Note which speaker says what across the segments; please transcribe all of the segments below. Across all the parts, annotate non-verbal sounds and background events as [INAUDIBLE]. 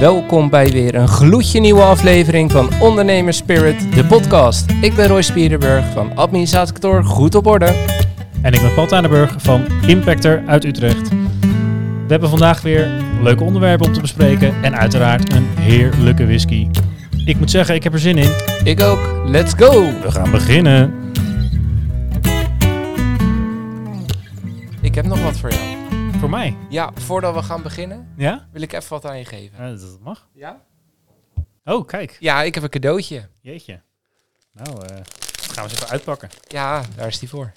Speaker 1: Welkom bij weer een gloedje nieuwe aflevering van Ondernemers Spirit, de podcast. Ik ben Roy Spierenburg van Administratie Kantoor Goed op Orde.
Speaker 2: En ik ben Paul Tuinenburg van Impactor uit Utrecht. We hebben vandaag weer leuke onderwerpen om te bespreken en uiteraard een heerlijke whisky. Ik moet zeggen, ik heb er zin in.
Speaker 1: Ik ook, let's go!
Speaker 2: We gaan beginnen.
Speaker 1: Ik heb nog wat voor jou.
Speaker 2: Voor mij?
Speaker 1: Ja, voordat we gaan beginnen
Speaker 2: Ja?
Speaker 1: wil ik even wat aan je geven.
Speaker 2: dat mag.
Speaker 1: Ja?
Speaker 2: Oh, kijk.
Speaker 1: Ja, ik heb een cadeautje.
Speaker 2: Jeetje. Nou, eh, dat gaan we eens even uitpakken. Oh.
Speaker 1: Ja, daar is die voor.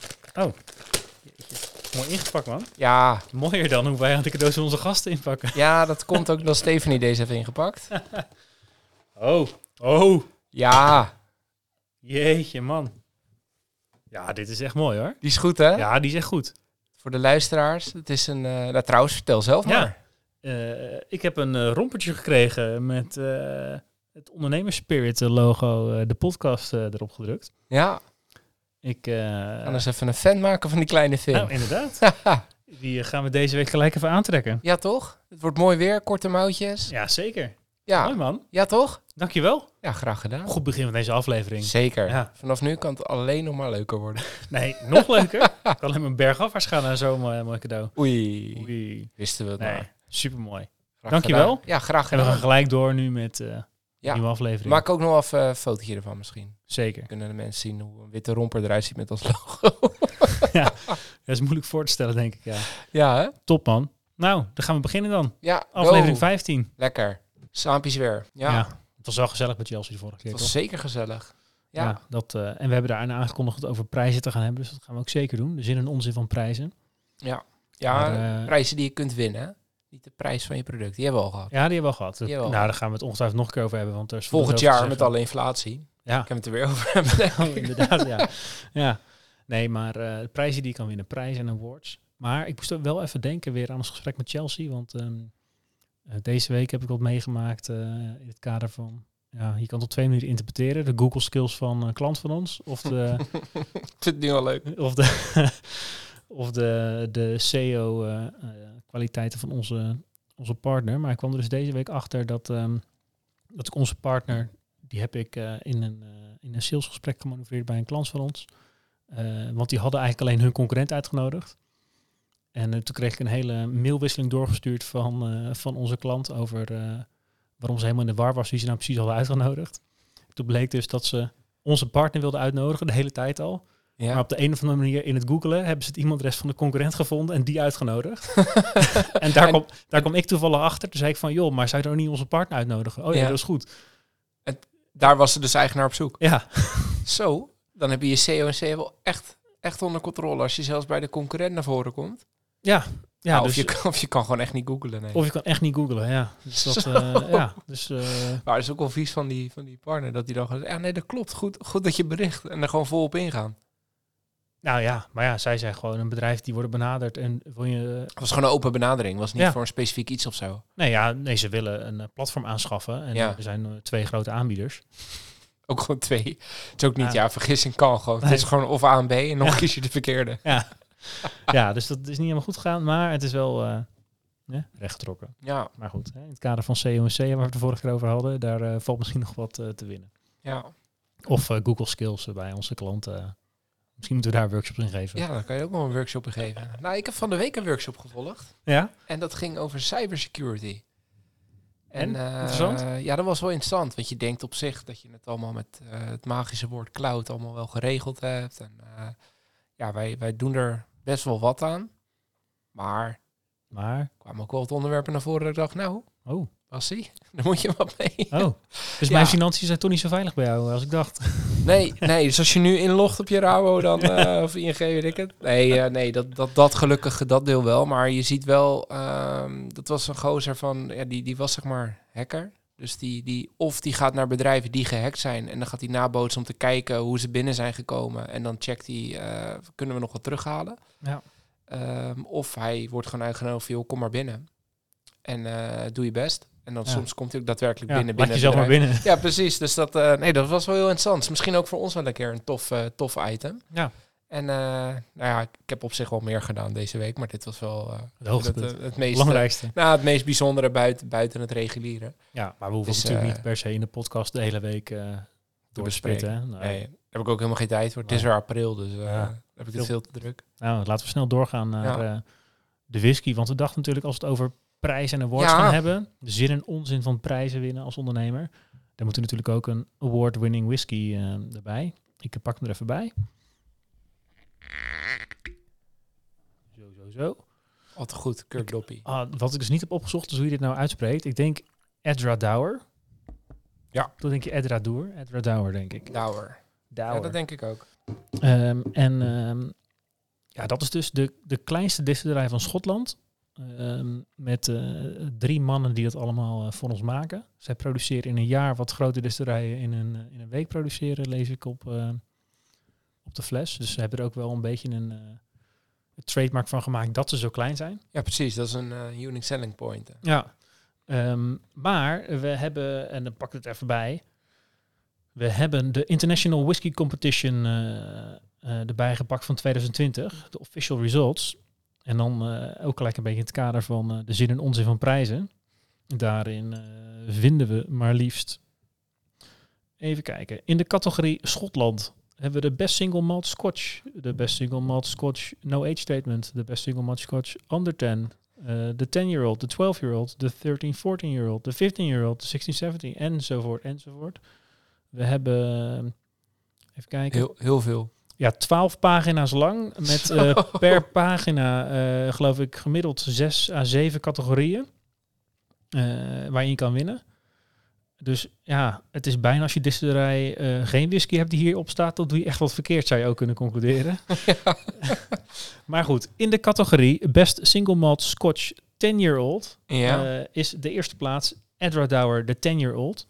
Speaker 2: Mooi ingepakt, man.
Speaker 1: Ja,
Speaker 2: Mooier dan hoe wij aan de cadeaus van onze gasten inpakken.
Speaker 1: ja dat komt ook omdat Stephanie deze heeft ingepakt.
Speaker 2: Oh. Oh.
Speaker 1: Ja,
Speaker 2: Jeetje, man. Ja, dit is echt mooi, hoor.
Speaker 1: die is goed hè?
Speaker 2: Ja, die is echt goed.
Speaker 1: Voor de luisteraars, het is een... eh nou, trouwens, vertel zelf
Speaker 2: Ja.
Speaker 1: maar.
Speaker 2: Eh, ik heb een eh, rompertje gekregen met eh, het ondernemerspirit logo, eh, de podcast eh, erop gedrukt.
Speaker 1: Ja,
Speaker 2: Ik, eh,
Speaker 1: anders even een fan maken van die kleine film.
Speaker 2: nou, inderdaad.
Speaker 1: [LAUGHS]
Speaker 2: Die eh, gaan we deze week gelijk even aantrekken.
Speaker 1: Ja, toch? Het wordt mooi weer, korte mouwtjes.
Speaker 2: Ja, zeker.
Speaker 1: Ja,
Speaker 2: Mooi man.
Speaker 1: ja toch?
Speaker 2: Dankjewel.
Speaker 1: Ja, graag gedaan.
Speaker 2: Goed begin van deze aflevering.
Speaker 1: Zeker.
Speaker 2: Ja.
Speaker 1: Vanaf nu kan het alleen nog maar leuker worden.
Speaker 2: Nee, nog
Speaker 1: [LAUGHS]
Speaker 2: leuker. Ik kan alleen maar bergafwaarts gaan naar zo'n mooi, mooi cadeau.
Speaker 1: Oei,
Speaker 2: Oei.
Speaker 1: wisten we het
Speaker 2: Nee,
Speaker 1: maar.
Speaker 2: supermooi.
Speaker 1: Graag
Speaker 2: Dankjewel.
Speaker 1: gedaan. Ja, graag
Speaker 2: En we gaan
Speaker 1: gedaan.
Speaker 2: gelijk door nu met eh
Speaker 1: Ja.
Speaker 2: nieuwe aflevering.
Speaker 1: Maak ook nog even een fotootje ervan misschien.
Speaker 2: Zeker.
Speaker 1: Kunnen de mensen zien hoe een witte romper eruit ziet met ons logo. [LAUGHS]
Speaker 2: Dat is moeilijk voor te stellen, denk ik. Ja.
Speaker 1: ja, hè?
Speaker 2: Top man. Nou, dan gaan we beginnen dan.
Speaker 1: Ja, go.
Speaker 2: Aflevering 15.
Speaker 1: Lekker. Saampjes weer. Oh. Ja,
Speaker 2: Ja. Het was wel gezellig met Chelsea de vorige keer.
Speaker 1: het
Speaker 2: toch?
Speaker 1: was zeker gezellig. Ja,
Speaker 2: Ja, dat, eh, en we hebben daarna aangekondigd over prijzen te gaan hebben. Dus dat gaan we ook zeker doen. De zin en onzin van prijzen.
Speaker 1: ja
Speaker 2: Maar, eh,
Speaker 1: prijzen die je kunt winnen. hè? Niet de prijs van je product. Die hebben we al gehad.
Speaker 2: Ja, die hebben we al gehad. Dat-
Speaker 1: Jawel.
Speaker 2: nou, daar gaan we het ongetwijfeld nog een keer over hebben. Want er is
Speaker 1: Volgend
Speaker 2: veel te
Speaker 1: jaar met
Speaker 2: zeggen.
Speaker 1: alle inflatie.
Speaker 2: Ja.
Speaker 1: Ik heb het er weer over. [LAUGHS] hebben, denk ik.
Speaker 2: Oh, [LAUGHS] inderdaad, ja. ja. Nee, maar eh, prijzen die je kan winnen. Prijzen en awards. Maar ik moest ook wel even denken weer aan ons gesprek met Chelsea. Want ehm, eh, deze week heb ik wat meegemaakt eh, in het kader van... Ja, je kan het op twee manieren interpreteren. De Google skills van een klant van ons. Of
Speaker 1: [LAUGHS]
Speaker 2: de...
Speaker 1: Ik vind het nu al leuk.
Speaker 2: Of de, [LAUGHS] of de, de E SEO-kwaliteiten eh, van onze, onze partner. Maar ik kwam er dus deze week achter dat, ehm, dat ik onze partner, die heb ik eh, in, een, eh, in een salesgesprek gemanoeuvreerd bij een klant van ons. Eh, want die hadden eigenlijk alleen hun concurrent uitgenodigd. En eh, toen kreeg ik een hele mailwisseling doorgestuurd van, eh, van onze klant over eh, waarom ze helemaal in de war was, wie ze nou precies hadden uitgenodigd. Toen bleek dus dat ze onze partner wilden uitnodigen, de hele tijd al.
Speaker 1: Ja.
Speaker 2: Maar op de een of andere manier in het googelen hebben ze het e-mailadres van de concurrent gevonden en die
Speaker 1: [LAUGHS]
Speaker 2: uitgenodigd. en daar,
Speaker 1: En-
Speaker 2: kwam, daar kwam ik toevallig achter. Toen zei ik van, joh, maar zou je dan ook niet onze partner uitnodigen? Oh ja,
Speaker 1: Ja.
Speaker 2: dat is goed.
Speaker 1: Daar was ze dus eigenaar op zoek.
Speaker 2: Ja,
Speaker 1: Zo, dan heb je je SEO en SEO wel echt, echt onder controle. Als je zelfs bij de concurrent naar voren komt.
Speaker 2: ja. ja
Speaker 1: Nou,
Speaker 2: dus,
Speaker 1: of, je, kan- of je kan gewoon echt niet googlen. Nee.
Speaker 2: of je kan echt niet googelen, ja. Dus dat,
Speaker 1: Zo.
Speaker 2: eh, ja, dus, eh,
Speaker 1: Maar het is ook wel vies van die, van die partner. Dat die dan gewoon zegt, ja nee, dat klopt. Goed, goed dat je bericht. En er gewoon vol op ingaan.
Speaker 2: nou ja, maar ja, zij zijn gewoon een bedrijf die worden benaderd en wil je...
Speaker 1: Het was gewoon een open benadering. was niet
Speaker 2: Ja.
Speaker 1: voor een specifiek iets of zo.
Speaker 2: Nee, ja, nee, ze willen een eh, platform aanschaffen en
Speaker 1: Ja.
Speaker 2: eh, er zijn eh, twee grote aanbieders.
Speaker 1: Ook gewoon twee. Het is ook niet, ja,
Speaker 2: Ja.
Speaker 1: vergissing kan gewoon. Het
Speaker 2: Nee.
Speaker 1: is gewoon of A en B en dan
Speaker 2: Ja.
Speaker 1: kies je de verkeerde. Ah.
Speaker 2: ja, dus dat is niet helemaal goed gegaan, maar het is wel eh eh, rechtgetrokken.
Speaker 1: Ja,
Speaker 2: Maar goed, hè, in het kader van CONC, waar we het de vorige keer over hadden, daar eh, valt misschien nog wat eh, te winnen.
Speaker 1: ja.
Speaker 2: Of eh, Google Skills eh, bij onze klanten. Misschien moeten we daar workshops in geven.
Speaker 1: ja, dan kan je ook wel een workshop in geven. Nou, ik heb van de week een workshop gevolgd.
Speaker 2: Ja?
Speaker 1: En dat ging over cybersecurity. En,
Speaker 2: En?
Speaker 1: eh,
Speaker 2: Interessant?
Speaker 1: ja, dat was wel interessant. Want je denkt op zich dat je het allemaal met eh, het magische woord cloud allemaal wel geregeld hebt. En eh, ja, wij, wij doen er best wel wat aan. Maar er
Speaker 2: Maar,
Speaker 1: kwamen ook wel wat onderwerpen naar voren dat ik dacht, nou,
Speaker 2: oh,
Speaker 1: Bassie, [LAUGHS] daar moet je wat mee.
Speaker 2: oh. Dus
Speaker 1: Ja.
Speaker 2: mijn financiën zijn toch niet zo veilig bij jou als ik dacht.
Speaker 1: Nee, nee, dus als je nu inlogt op je Rabo dan,
Speaker 2: [LAUGHS]
Speaker 1: eh, of ING, weet ik het. Nee, eh, nee dat, dat, dat gelukkig, dat deel wel. Maar je ziet wel, ehm, dat was een gozer van, ja, die, die was zeg maar hacker. Dus die, die, of die gaat naar bedrijven die gehackt zijn en dan gaat hij nabootsen om te kijken hoe ze binnen zijn gekomen. En dan checkt hij, eh, kunnen we nog wat terughalen?
Speaker 2: Ja.
Speaker 1: Ehm, of hij wordt gewoon uitgenodigd van, joh, kom maar binnen. En eh, doe je best. En dan
Speaker 2: Ja.
Speaker 1: soms komt hij ook daadwerkelijk
Speaker 2: Ja,
Speaker 1: binnen.
Speaker 2: laat
Speaker 1: binnen het
Speaker 2: jezelf maar
Speaker 1: bedrijf.
Speaker 2: binnen.
Speaker 1: Ja, precies. Dus dat, eh, nee, dat was wel heel interessant. Misschien ook voor ons wel een keer een tof, eh, tof item.
Speaker 2: Ja.
Speaker 1: En eh, nou ja, ik ik heb op zich wel meer gedaan deze week, maar dit was wel eh,
Speaker 2: Het hoogtepunt.
Speaker 1: het, eh, het meest,
Speaker 2: belangrijkste.
Speaker 1: nou, het meest bijzondere buiten, buiten het reguliere.
Speaker 2: Ja, maar we hoeven
Speaker 1: Dus,
Speaker 2: natuurlijk
Speaker 1: eh,
Speaker 2: niet per se in de podcast de hele week eh, door te
Speaker 1: bespreken.
Speaker 2: spitten. hè. Nou,
Speaker 1: Nee, daar heb ik ook helemaal geen tijd voor. Het is
Speaker 2: Nee.
Speaker 1: weer april, dus eh,
Speaker 2: Ja.
Speaker 1: daar heb ik het veel te druk.
Speaker 2: nou, laten we snel doorgaan naar eh, de whisky. Want we dachten natuurlijk als we het over prijzen en awards
Speaker 1: Ja.
Speaker 2: gaan hebben, de zin en onzin van prijzen winnen als ondernemer, dan moet er natuurlijk ook een award-winning whisky eh, erbij. Ik pak hem er even bij. Zo, zo, zo.
Speaker 1: Al te goed, Kirk Doppie.
Speaker 2: Ah, wat ik dus niet heb opgezocht is hoe je dit nou uitspreekt. Ik denk Edra Douwer.
Speaker 1: Ja.
Speaker 2: Toen denk je Edra Doer. Edra Douwer, denk ik.
Speaker 1: Douwer. Ja, dat denk ik ook.
Speaker 2: Ehm, en ehm, ja, dat is dus de, de kleinste distillerij van Schotland. Ehm, met eh, drie mannen die dat allemaal eh, voor ons maken. Zij produceren in een jaar wat grote distillerijen in een, eh, in een week produceren, lees ik op, eh, op de fles. Dus ze hebben er ook wel een beetje een, eh, een trademark van gemaakt dat ze zo klein zijn.
Speaker 1: Ja, precies. Dat is een eh, unique selling point. hè.
Speaker 2: Ja. Ehm, maar we hebben, en dan pak ik het even bij. We hebben de International Whisky Competition eh, eh, erbij gepakt van 2020. De official results. En dan eh, ook gelijk een beetje in het kader van eh, de zin en onzin van prijzen. Daarin eh, vinden we maar liefst. Even kijken. In de categorie Schotland hebben we de Best Single Malt Scotch. De Best Single Malt Scotch No Age Statement. De Best Single Malt Scotch Under 10 eh, de 10-year-old, de 12-year-old, de 13, 14-year-old, de 15-year-old, de 16, 17, enzovoort, enzovoort. We hebben, eh, even kijken,
Speaker 1: Heel, Oh, heel veel.
Speaker 2: ja, 12 pagina's lang
Speaker 1: [LAUGHS]
Speaker 2: met eh, per pagina, eh, geloof ik, gemiddeld 6 à 7 categorieën eh, waarin je kan winnen. Dus ja, het is bijna als je distillerij eh, geen whisky hebt die hierop staat, dan doe je echt wat verkeerd, zou je ook kunnen concluderen. [LAUGHS] maar goed, in de categorie Best Single Malt Scotch 10-year-old
Speaker 1: Ja.
Speaker 2: eh, is de eerste plaats Edra Douwer, de 10-year-old.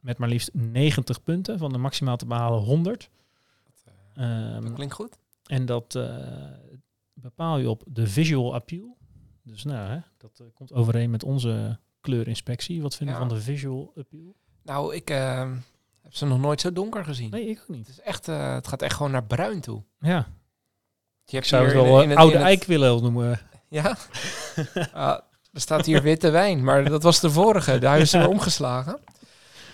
Speaker 2: Met maar liefst 90 punten van de maximaal te behalen 100. Ehm,
Speaker 1: dat klinkt goed.
Speaker 2: en dat eh, bepaal je op de visual appeal. Dus nou, hè, dat eh, komt overeen met onze kleurinspectie. Wat vinden we
Speaker 1: Ja.
Speaker 2: van de visual appeal?
Speaker 1: Nou, ik eh, heb ze nog nooit zo donker gezien.
Speaker 2: Nee, ik ook niet.
Speaker 1: Het, is echt, eh, het gaat echt gewoon naar bruin toe.
Speaker 2: Ja,
Speaker 1: Je hebt
Speaker 2: ik zou het
Speaker 1: hier
Speaker 2: wel
Speaker 1: in-
Speaker 2: eh,
Speaker 1: in
Speaker 2: oude
Speaker 1: in
Speaker 2: eik willen noemen. [LAUGHS]
Speaker 1: Ja. Ah, er staat hier witte wijn, maar dat was de vorige. Daar hebben ze
Speaker 2: [LAUGHS]
Speaker 1: weer omgeslagen.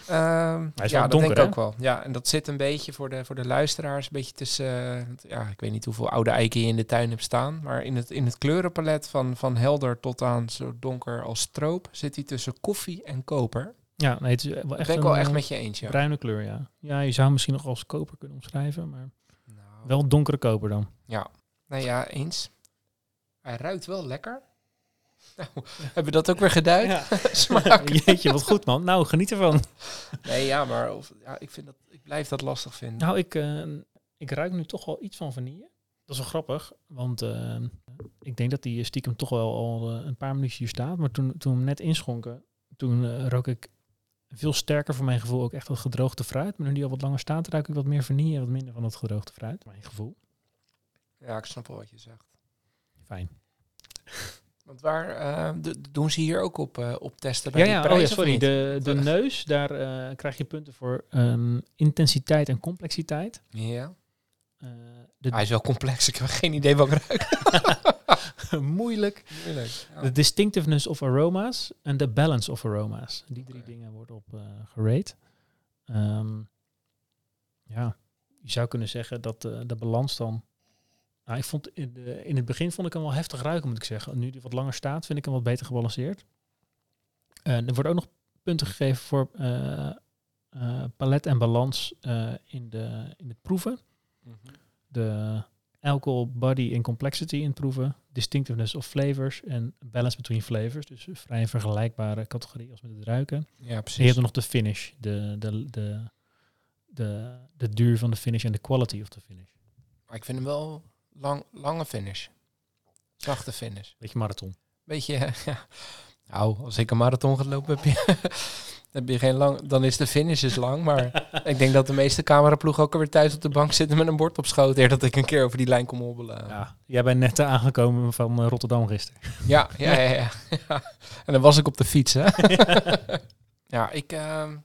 Speaker 1: Ehm,
Speaker 2: Hij is
Speaker 1: ja,
Speaker 2: wel
Speaker 1: dat
Speaker 2: donker,
Speaker 1: denk ik
Speaker 2: hè?
Speaker 1: ook wel. Ja, en dat zit een beetje voor de, voor de luisteraars, een beetje tussen... eh, want ja, ik weet niet hoeveel oude eiken je in de tuin hebt staan, maar in het, in het kleurenpalet van, van helder tot aan zo donker als stroop zit hij tussen koffie en koper.
Speaker 2: Ja, nee, het is wel
Speaker 1: dat
Speaker 2: echt
Speaker 1: ben ik
Speaker 2: een
Speaker 1: wel
Speaker 2: eh,
Speaker 1: echt met je eens, ja.
Speaker 2: bruine kleur, ja. Ja, je zou hem misschien nog als koper kunnen omschrijven, maar
Speaker 1: Nou,
Speaker 2: wel donkere koper dan.
Speaker 1: nou ja, eens. Hij ruikt wel lekker. [LAUGHS] Nou, hebben we dat ook weer geduid? [LAUGHS] Smaak.
Speaker 2: [LAUGHS] Jeetje, wat goed man. Nou, geniet ervan.
Speaker 1: Nee, ja, maar of, ja, ik, vind dat, ik blijf dat lastig vinden.
Speaker 2: Nou, ik, eh, ik ruik nu toch wel iets van vanille. Dat is wel grappig, want eh, ik denk dat die stiekem toch wel al eh, een paar minuutjes hier staat. Maar toen, toen we hem net inschonken, toen eh, rook ik veel sterker voor mijn gevoel ook echt dat gedroogde fruit. Maar nu die al wat langer staat, ruik ik wat meer vanille en wat minder van dat gedroogde fruit. Mijn gevoel.
Speaker 1: Ja, ik snap wel wat je zegt.
Speaker 2: Fijn.
Speaker 1: Want waar eh, d- d- doen ze hier ook op, eh, op testen?
Speaker 2: Ja,
Speaker 1: die
Speaker 2: ja, oh
Speaker 1: prijs,
Speaker 2: ja,
Speaker 1: of
Speaker 2: sorry.
Speaker 1: niet?
Speaker 2: De, de
Speaker 1: Eh.
Speaker 2: neus, daar eh, krijg je punten voor ehm, intensiteit en complexiteit.
Speaker 1: Ja.
Speaker 2: Eh, de
Speaker 1: Hij is wel complex. Ik heb geen idee wat ik ruik.
Speaker 2: [LAUGHS] moeilijk.
Speaker 1: Moeilijk. Ja.
Speaker 2: De distinctiveness of aromas en de balance of aromas. Die drie
Speaker 1: Oké.
Speaker 2: dingen worden op eh gerate. Ehm, ja, je zou kunnen zeggen dat eh, de balans dan... Nou, ik vond in, de- in het begin vond ik hem wel heftig ruiken, moet ik zeggen. Nu die wat langer staat, vind ik hem wat beter gebalanceerd. En er wordt ook nog punten gegeven voor eh, eh, palet en balans eh, in, de, in het proeven
Speaker 1: Mhm.
Speaker 2: de alcohol, body en complexity in proeven, distinctiveness of flavors en balance between flavors. Dus een vrij vergelijkbare categorie als met het ruiken.
Speaker 1: Ja,
Speaker 2: En je
Speaker 1: precies.
Speaker 2: hebt dan nog de finish, de, de, de, de, de duur van de finish en de quality of de finish.
Speaker 1: Maar ik vind hem wel lang, lange finish. Zachte finish.
Speaker 2: Beetje marathon.
Speaker 1: Beetje, eh, [LAUGHS] ja. Nou, als ik een marathon ga lopen, heb je, [LAUGHS] heb je geen lang, dan is de finish is lang.
Speaker 2: [LAUGHS]
Speaker 1: Maar ik denk dat de meeste cameraploegen ook alweer thuis op de bank zitten met een bord op schoot. Eer dat ik een keer over die lijn kom hobbelen.
Speaker 2: Ja, jij bent net eh, aangekomen van eh, Rotterdam gisteren.
Speaker 1: Ja, ja, ja, ja, [LAUGHS] ja. En dan was ik op de fiets,
Speaker 2: [LAUGHS]
Speaker 1: hè? ja, ik. ehm,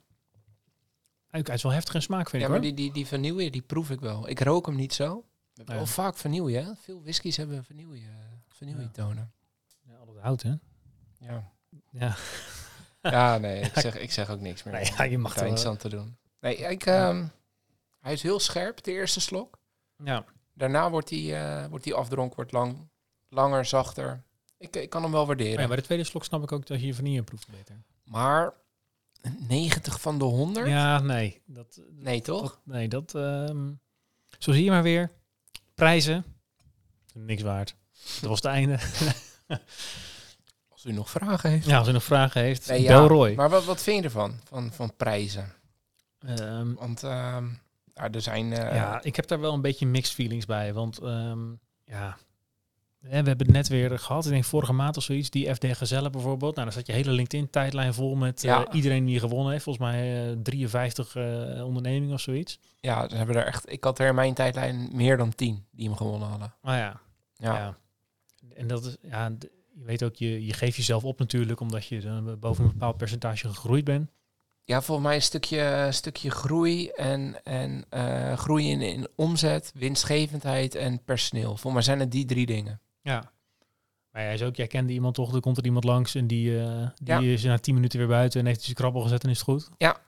Speaker 2: Hij is wel heftig in smaak, vind
Speaker 1: ja,
Speaker 2: ik
Speaker 1: maar
Speaker 2: hoor.
Speaker 1: die, die, die vanille, die proef ik wel. Ik rook hem niet zo. We hebben
Speaker 2: Ja.
Speaker 1: wel vaak vernieuwen, hè? Veel whiskies hebben vernieuwen, eh, vernieuwen
Speaker 2: Ja.
Speaker 1: tonen.
Speaker 2: Ja, al dat hout, hè?
Speaker 1: Ja.
Speaker 2: [LAUGHS] Ja.
Speaker 1: ja, nee,
Speaker 2: [LAUGHS]
Speaker 1: ik zeg, ik zeg ook niks meer.
Speaker 2: Nee, Nou ja, je mag
Speaker 1: Ga
Speaker 2: er wel-
Speaker 1: niks aan te doen. Nee, ik,
Speaker 2: Ja.
Speaker 1: ehm, hij is heel scherp, de eerste slok.
Speaker 2: Ja.
Speaker 1: Daarna wordt hij, eh, wordt hij afdronk, wordt lang, langer, zachter. Ik, ik kan hem wel waarderen.
Speaker 2: Oh ja, bij de tweede slok snap ik ook dat je je vanille proeft beter.
Speaker 1: Maar 90 van de 100?
Speaker 2: Ja, nee. Dat,
Speaker 1: Nee, toch?
Speaker 2: dat- nee, dat... ehm, zo zie je maar weer. Prijzen. Niks waard. Dat was het einde.
Speaker 1: Als u nog vragen heeft.
Speaker 2: [LAUGHS] Ja, als u nog vragen heeft,
Speaker 1: Nee, ja.
Speaker 2: bel Roy.
Speaker 1: Maar wat, wat vind je ervan? Van, van prijzen?
Speaker 2: Ehm,
Speaker 1: Want ehm, ja, er zijn... eh,
Speaker 2: ja, ik heb daar wel een beetje mixed feelings bij. Want ehm, ja, hè, we hebben het net weer gehad. Ik denk vorige maand of zoiets. Die FD Gezellen bijvoorbeeld. Nou, dan zat je hele LinkedIn-tijdlijn vol met eh,
Speaker 1: Ja.
Speaker 2: iedereen die gewonnen heeft. Volgens mij eh, 53 eh, ondernemingen of zoiets.
Speaker 1: ja, ze hebben er echt... Ik had er in mijn tijdlijn meer dan 10 die hem gewonnen hadden.
Speaker 2: Maar ja,
Speaker 1: Ja.
Speaker 2: Ja. En dat is, ja, d- je weet ook, je, je geeft jezelf op natuurlijk, omdat je dan boven
Speaker 1: Mhm.
Speaker 2: een bepaald percentage gegroeid bent.
Speaker 1: Ja, volgens mij een stukje, een stukje groei en, en eh, groei in, in omzet, winstgevendheid en personeel. Volgens mij zijn het die drie dingen.
Speaker 2: Ja. Maar jij is ook, jij kende iemand toch, er komt er iemand langs en die, eh, die
Speaker 1: Ja.
Speaker 2: is na tien minuten weer buiten en heeft hij zijn krabbel gezet en is het goed.
Speaker 1: Ja,
Speaker 2: Dus,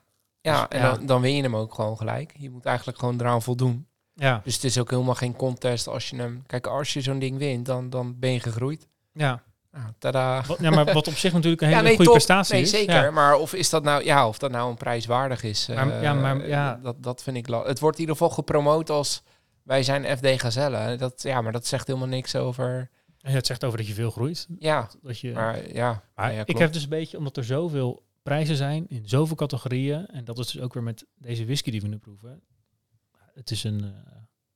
Speaker 1: en
Speaker 2: ja.
Speaker 1: Dan, dan win je hem ook gewoon gelijk. Je moet eigenlijk gewoon eraan voldoen.
Speaker 2: Ja,
Speaker 1: Dus het is ook helemaal geen contest als je hem... Kijk, als je zo'n ding wint, dan, dan ben je gegroeid.
Speaker 2: ja.
Speaker 1: Ah, tada.
Speaker 2: Wat, ja maar wat op zich natuurlijk een hele
Speaker 1: [LAUGHS] ja, nee,
Speaker 2: goede
Speaker 1: top.
Speaker 2: prestatie
Speaker 1: nee,
Speaker 2: is.
Speaker 1: Zeker,
Speaker 2: Ja.
Speaker 1: maar of, is dat nou, ja, of dat nou een prijs waardig is,
Speaker 2: Maar-
Speaker 1: eh,
Speaker 2: ja, maar- ja.
Speaker 1: Dat, dat vind ik... la- Het wordt in ieder geval gepromoot als wij zijn FD Gazelle. Dat, ja, maar dat zegt helemaal niks over...
Speaker 2: En Het zegt over dat je veel groeit.
Speaker 1: Ja,
Speaker 2: Dat je,
Speaker 1: maar ja...
Speaker 2: Maar
Speaker 1: ja,
Speaker 2: ik
Speaker 1: klopt.
Speaker 2: heb dus een beetje, omdat er zoveel prijzen zijn in zoveel categorieën, en dat is dus ook weer met deze whisky die we nu proeven. Het is een, eh,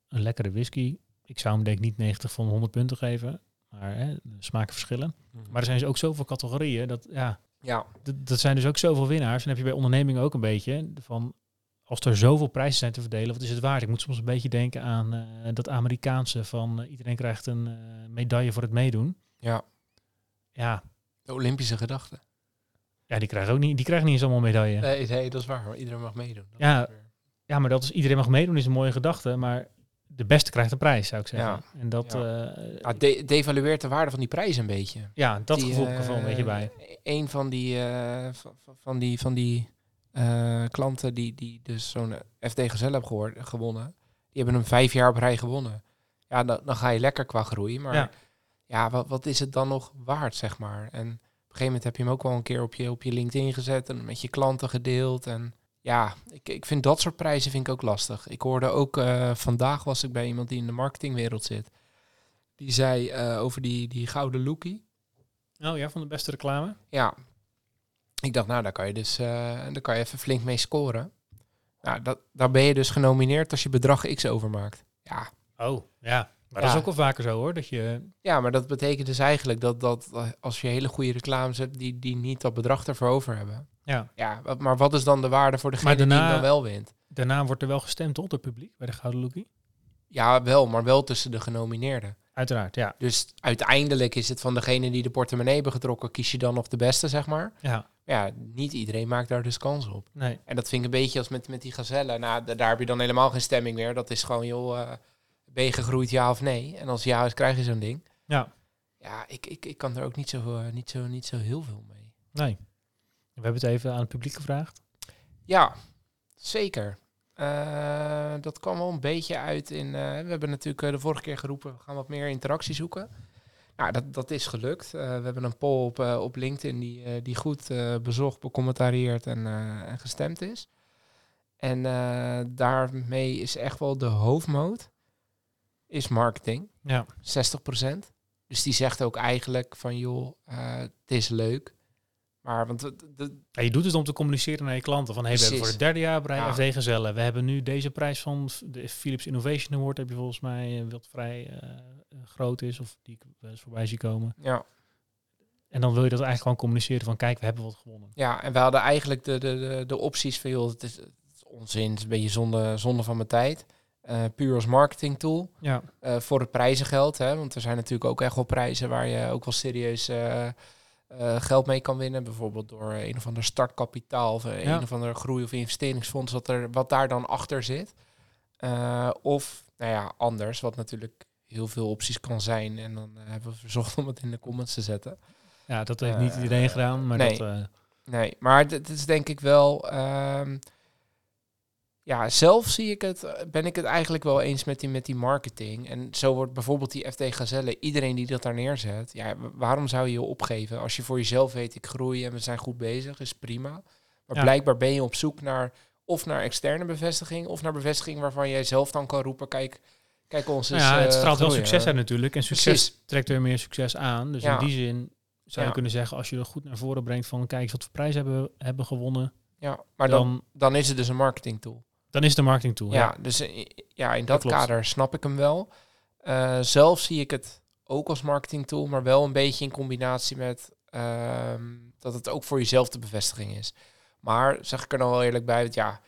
Speaker 2: een lekkere whisky. Ik zou hem denk ik niet 90 van 100 punten geven, maar hè, de smaken verschillen. Maar er zijn dus ook zoveel categorieën, dat, ja,
Speaker 1: Ja,
Speaker 2: d- dat zijn dus ook zoveel winnaars. En heb je bij ondernemingen ook een beetje van, als er zoveel prijzen zijn te verdelen, wat is het waard? Ik moet soms een beetje denken aan eh, dat Amerikaanse van eh, iedereen krijgt een eh, medaille voor het meedoen.
Speaker 1: Ja.
Speaker 2: Ja,
Speaker 1: de Olympische gedachte.
Speaker 2: ja, die krijgen ook niet, die krijgen niet eens allemaal medaille.
Speaker 1: Nee, nee, dat is waar. maar Iedereen mag meedoen. Dat
Speaker 2: Ja.
Speaker 1: is weer-
Speaker 2: Ja, maar dat is iedereen mag meedoen is een mooie gedachte, maar de beste krijgt een prijs zou ik zeggen. En dat, ja, Ah,
Speaker 1: Ja, het Nou, de- devalueert de waarde van die prijs een beetje.
Speaker 2: ja dat
Speaker 1: Die,
Speaker 2: gevoel heb ik er
Speaker 1: eh,
Speaker 2: wel een beetje bij.
Speaker 1: Een van die, eh, van, van- van die, van die eh, klanten die, die dus zo'n FD Gezel hebben gehoor- gewonnen, die hebben hem vijf jaar op rij gewonnen. Ja, dan, dan ga je lekker qua groei, maar
Speaker 2: Ja.
Speaker 1: ja, wat, wat is het dan nog waard, zeg maar? En op een gegeven moment heb je hem ook wel een keer op je, op je LinkedIn gezet en met je klanten gedeeld. En ja, ik, ik vind dat soort prijzen vind ik ook lastig. Ik hoorde ook, eh, vandaag was ik bij iemand die in de marketingwereld zit. Die zei eh, over die, die gouden lookie.
Speaker 2: Oh ja, van de beste reclame.
Speaker 1: Ja. Ik dacht, nou, daar kan je dus eh, daar kan je even flink mee scoren. Nou, dat, daar ben je dus genomineerd als je bedrag X overmaakt. Ja,
Speaker 2: Oh, ja. Maar dat
Speaker 1: Ja.
Speaker 2: is ook wel vaker zo hoor, dat je...
Speaker 1: ja maar dat betekent dus eigenlijk dat, dat eh, als je hele goede reclames hebt die, die niet dat bedrag ervoor over hebben.
Speaker 2: Ja.
Speaker 1: Ja, wa- maar wat is dan de waarde voor degene
Speaker 2: Maar daarna-
Speaker 1: die hem dan wel wint?
Speaker 2: Daarna wordt er wel gestemd toch, door het publiek, bij de Gouden Lookie?
Speaker 1: Ja, wel, maar wel tussen de genomineerden.
Speaker 2: Uiteraard, ja.
Speaker 1: Dus uiteindelijk is het van degene die de portemonnee hebben getrokken, kies je dan nog de beste, zeg maar.
Speaker 2: Ja,
Speaker 1: Ja, niet iedereen maakt daar dus kans op.
Speaker 2: nee.
Speaker 1: En dat vind ik een beetje als met, met die gazellen. Nou, da- daar heb je dan helemaal geen stemming meer. Dat is gewoon, joh, eh, ben je gegroeid, ja of nee? En als ja is, krijg je zo'n ding.
Speaker 2: Ja.
Speaker 1: Ja, ik, ik, ik kan er ook niet zo, eh, niet, zo, niet zo heel veel mee.
Speaker 2: Nee. We hebben het even aan het publiek gevraagd.
Speaker 1: Ja, zeker. Eh, dat kwam wel een beetje uit in... eh, we hebben natuurlijk eh, de vorige keer geroepen, we gaan wat meer interactie zoeken. Nou, dat, dat is gelukt. Eh, we hebben een poll op, eh, op LinkedIn die, eh, die goed eh, bezocht, becommentarieerd en, eh, en gestemd is. En eh, daarmee is echt wel de hoofdmoot is marketing.
Speaker 2: Ja.
Speaker 1: 60%. Dus die zegt ook eigenlijk van joh, eh, het is leuk. Maar want eh, het- het-
Speaker 2: En je doet het om te communiceren naar je klanten. Van, hey, we hebben
Speaker 1: Precies.
Speaker 2: voor het derde jaar bij
Speaker 1: Ja.
Speaker 2: FD Gezellen. We hebben nu deze prijs van de Philips Innovation Award. Heb je volgens mij, eh, wat vrij eh, groot is. Of die ik wel eens voorbij zie komen.
Speaker 1: ja,
Speaker 2: En dan wil je dat eigenlijk gewoon communiceren van kijk, we hebben wat gewonnen.
Speaker 1: Ja, en we hadden eigenlijk de, de, de, de opties van, joh, het is, het is onzin, het is een beetje zonde, zonde van mijn tijd. Eh, puur als marketing tool.
Speaker 2: Ja,
Speaker 1: Eh, voor het prijzengeld, hè, want er zijn natuurlijk ook echt wel prijzen waar je ook wel serieus eh, eh, geld mee kan winnen. Bijvoorbeeld door een of ander startkapitaal of eh,
Speaker 2: Ja.
Speaker 1: een of ander groei- of investeringsfonds, wat, er, wat daar dan achter zit. Eh, of, nou ja, anders, wat natuurlijk heel veel opties kan zijn. En dan eh, hebben we verzocht om het in de comments te zetten.
Speaker 2: Ja, dat heeft niet iedereen
Speaker 1: Eh,
Speaker 2: gedaan, maar
Speaker 1: nee.
Speaker 2: dat... eh,
Speaker 1: Nee, maar het is denk ik wel. ehm, ja, zelf zie ik het, eh, ben ik het eigenlijk wel eens met die, met die marketing. En zo wordt bijvoorbeeld die FT Gazelle, iedereen die dat daar neerzet. Ja, wa- waarom zou je je opgeven? Als je voor jezelf weet, ik groei en we zijn goed bezig, is prima. Maar
Speaker 2: Ja.
Speaker 1: blijkbaar ben je op zoek naar of naar externe bevestiging, of naar bevestiging waarvan jij zelf dan kan roepen, kijk, kijk ons
Speaker 2: nou
Speaker 1: eens,
Speaker 2: ja, het
Speaker 1: eh,
Speaker 2: straalt wel
Speaker 1: groeien.
Speaker 2: succes uit natuurlijk. En succes
Speaker 1: Precies.
Speaker 2: trekt weer meer succes aan. Dus
Speaker 1: Ja.
Speaker 2: in die zin zou je
Speaker 1: Ja.
Speaker 2: kunnen zeggen, als je er goed naar voren brengt van kijk eens wat voor prijs hebben we hebben gewonnen,
Speaker 1: Ja, maar dan,
Speaker 2: dan,
Speaker 1: dan is het dus een marketing tool.
Speaker 2: dan is de marketing tool.
Speaker 1: Ja, dus i- i- ja, in dat
Speaker 2: klopt.
Speaker 1: kader snap ik hem wel. Eh, zelf zie ik het ook als marketing tool, maar wel een beetje in combinatie met ehm, dat het ook voor jezelf de bevestiging is. Maar zeg ik er nou wel eerlijk bij, want ja,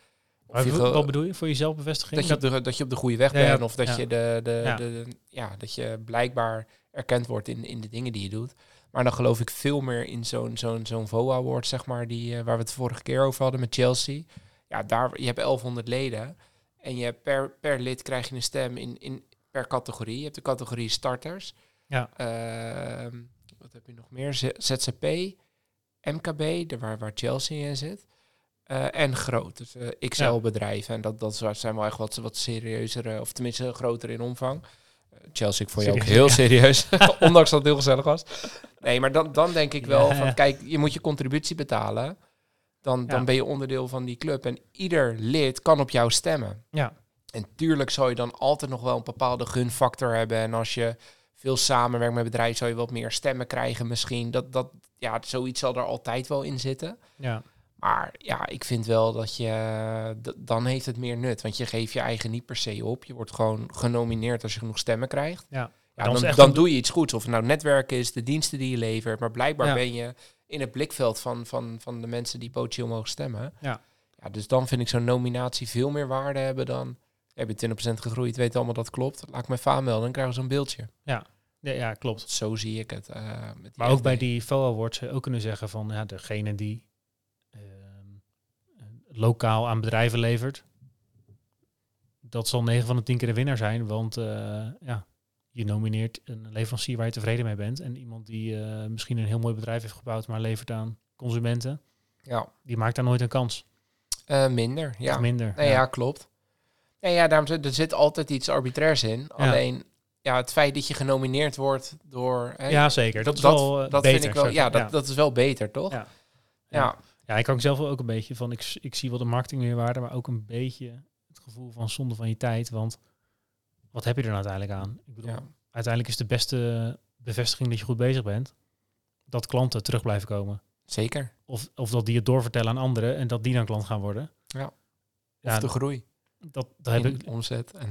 Speaker 1: of
Speaker 2: Maar
Speaker 1: je
Speaker 2: wat
Speaker 1: ge-
Speaker 2: wat bedoel je voor jezelf bevestiging?
Speaker 1: dat, je op de, dat je op de goede weg
Speaker 2: Ja, ja,
Speaker 1: bent of dat
Speaker 2: ja.
Speaker 1: je de, de,
Speaker 2: Ja.
Speaker 1: de, de- ja, dat je blijkbaar erkend wordt in, in de dingen die je doet. Maar dan geloof ik veel meer in zo'n zo'n zo'n VOA award zeg maar, die, eh, waar we het vorige keer over hadden met Chelsea. Ja, daar, je hebt 1100 leden en je hebt per, per lid krijg je een stem in, in, per categorie. Je hebt de categorie starters.
Speaker 2: Ja.
Speaker 1: Ehm, wat heb je nog meer? Z- ZZP, MKB, de, waar, waar Chelsea in zit. Eh, en groot, dus eh, XL-bedrijven. En dat, dat zijn wel echt wat, wat serieuzere, of tenminste groter in omvang. Eh, Chelsea, ik vond je ook
Speaker 2: Serieus,
Speaker 1: heel
Speaker 2: [LAUGHS]
Speaker 1: serieus, ondanks dat het heel gezellig was. Nee, maar dan, dan denk ik wel
Speaker 2: Ja, ja.
Speaker 1: van, kijk, je moet je contributie betalen. Dan, dan
Speaker 2: Ja.
Speaker 1: ben je onderdeel van die club. En ieder lid kan op jou stemmen.
Speaker 2: Ja.
Speaker 1: En tuurlijk zou je dan altijd nog wel een bepaalde gunfactor hebben. En als je veel samenwerkt met bedrijven, zou je wat meer stemmen krijgen misschien. Dat, dat, ja, zoiets zal er altijd wel in zitten.
Speaker 2: ja.
Speaker 1: Maar ja, ik vind wel dat je... eh, d- Dan heeft het meer nut. Want je geeft je eigen niet per se op. Je wordt gewoon genomineerd als je genoeg stemmen krijgt.
Speaker 2: Ja.
Speaker 1: Ja,
Speaker 2: Dan is
Speaker 1: dan,
Speaker 2: echt
Speaker 1: dan
Speaker 2: een-
Speaker 1: doe je iets goeds. Of het nou netwerken is, de diensten die je levert. Maar blijkbaar
Speaker 2: Ja.
Speaker 1: ben je in het blikveld van, van, van de mensen die potentieel mogen stemmen.
Speaker 2: Ja.
Speaker 1: Ja, dus dan vind ik zo'n nominatie veel meer waarde hebben dan... Heb je 20% gegroeid, weet allemaal dat klopt. Laat ik mijn faam melden, dan krijgen we zo'n beeldje.
Speaker 2: Ja, ja, klopt.
Speaker 1: Zo zie ik het. eh, met
Speaker 2: Maar ook
Speaker 1: FD.
Speaker 2: bij die FOA Awards zou je ook kunnen zeggen van ja, degene die ehm, lokaal aan bedrijven levert, dat zal 9 van de 10 keer de winnaar zijn. Want eh, ja, je nomineert een leverancier waar je tevreden mee bent. En iemand die eh, misschien een heel mooi bedrijf heeft gebouwd, maar levert aan consumenten,
Speaker 1: Ja,
Speaker 2: die maakt daar nooit een kans.
Speaker 1: eh, minder. Ja.
Speaker 2: Of minder.
Speaker 1: Nee, ja. klopt. Nee, ja, daarom, zit- er zit altijd iets arbitrairs in. Alleen ja, het feit dat je genomineerd wordt door... Hè,
Speaker 2: Ja, zeker. Dat, is wel eh,
Speaker 1: dat
Speaker 2: beter.
Speaker 1: Vind ik wel,
Speaker 2: zou
Speaker 1: ja, dat,
Speaker 2: zeggen.
Speaker 1: dat is wel beter, toch?
Speaker 2: Ja.
Speaker 1: ja.
Speaker 2: Ja, ik hang zelf wel ook een beetje van, ik, s- ik zie wel de marketingmeerwaarde, maar ook een beetje het gevoel van zonde van je tijd. Want wat heb je er nou uiteindelijk aan? Ik bedoel,
Speaker 1: ja.
Speaker 2: uiteindelijk is de beste bevestiging dat je goed bezig bent, dat klanten terug blijven komen.
Speaker 1: Zeker.
Speaker 2: Of, of dat die het doorvertellen aan anderen en dat die dan klant gaan worden.
Speaker 1: Ja. Of Of
Speaker 2: ja,
Speaker 1: de groei
Speaker 2: dat, dat heb
Speaker 1: in
Speaker 2: ik,
Speaker 1: omzet. En,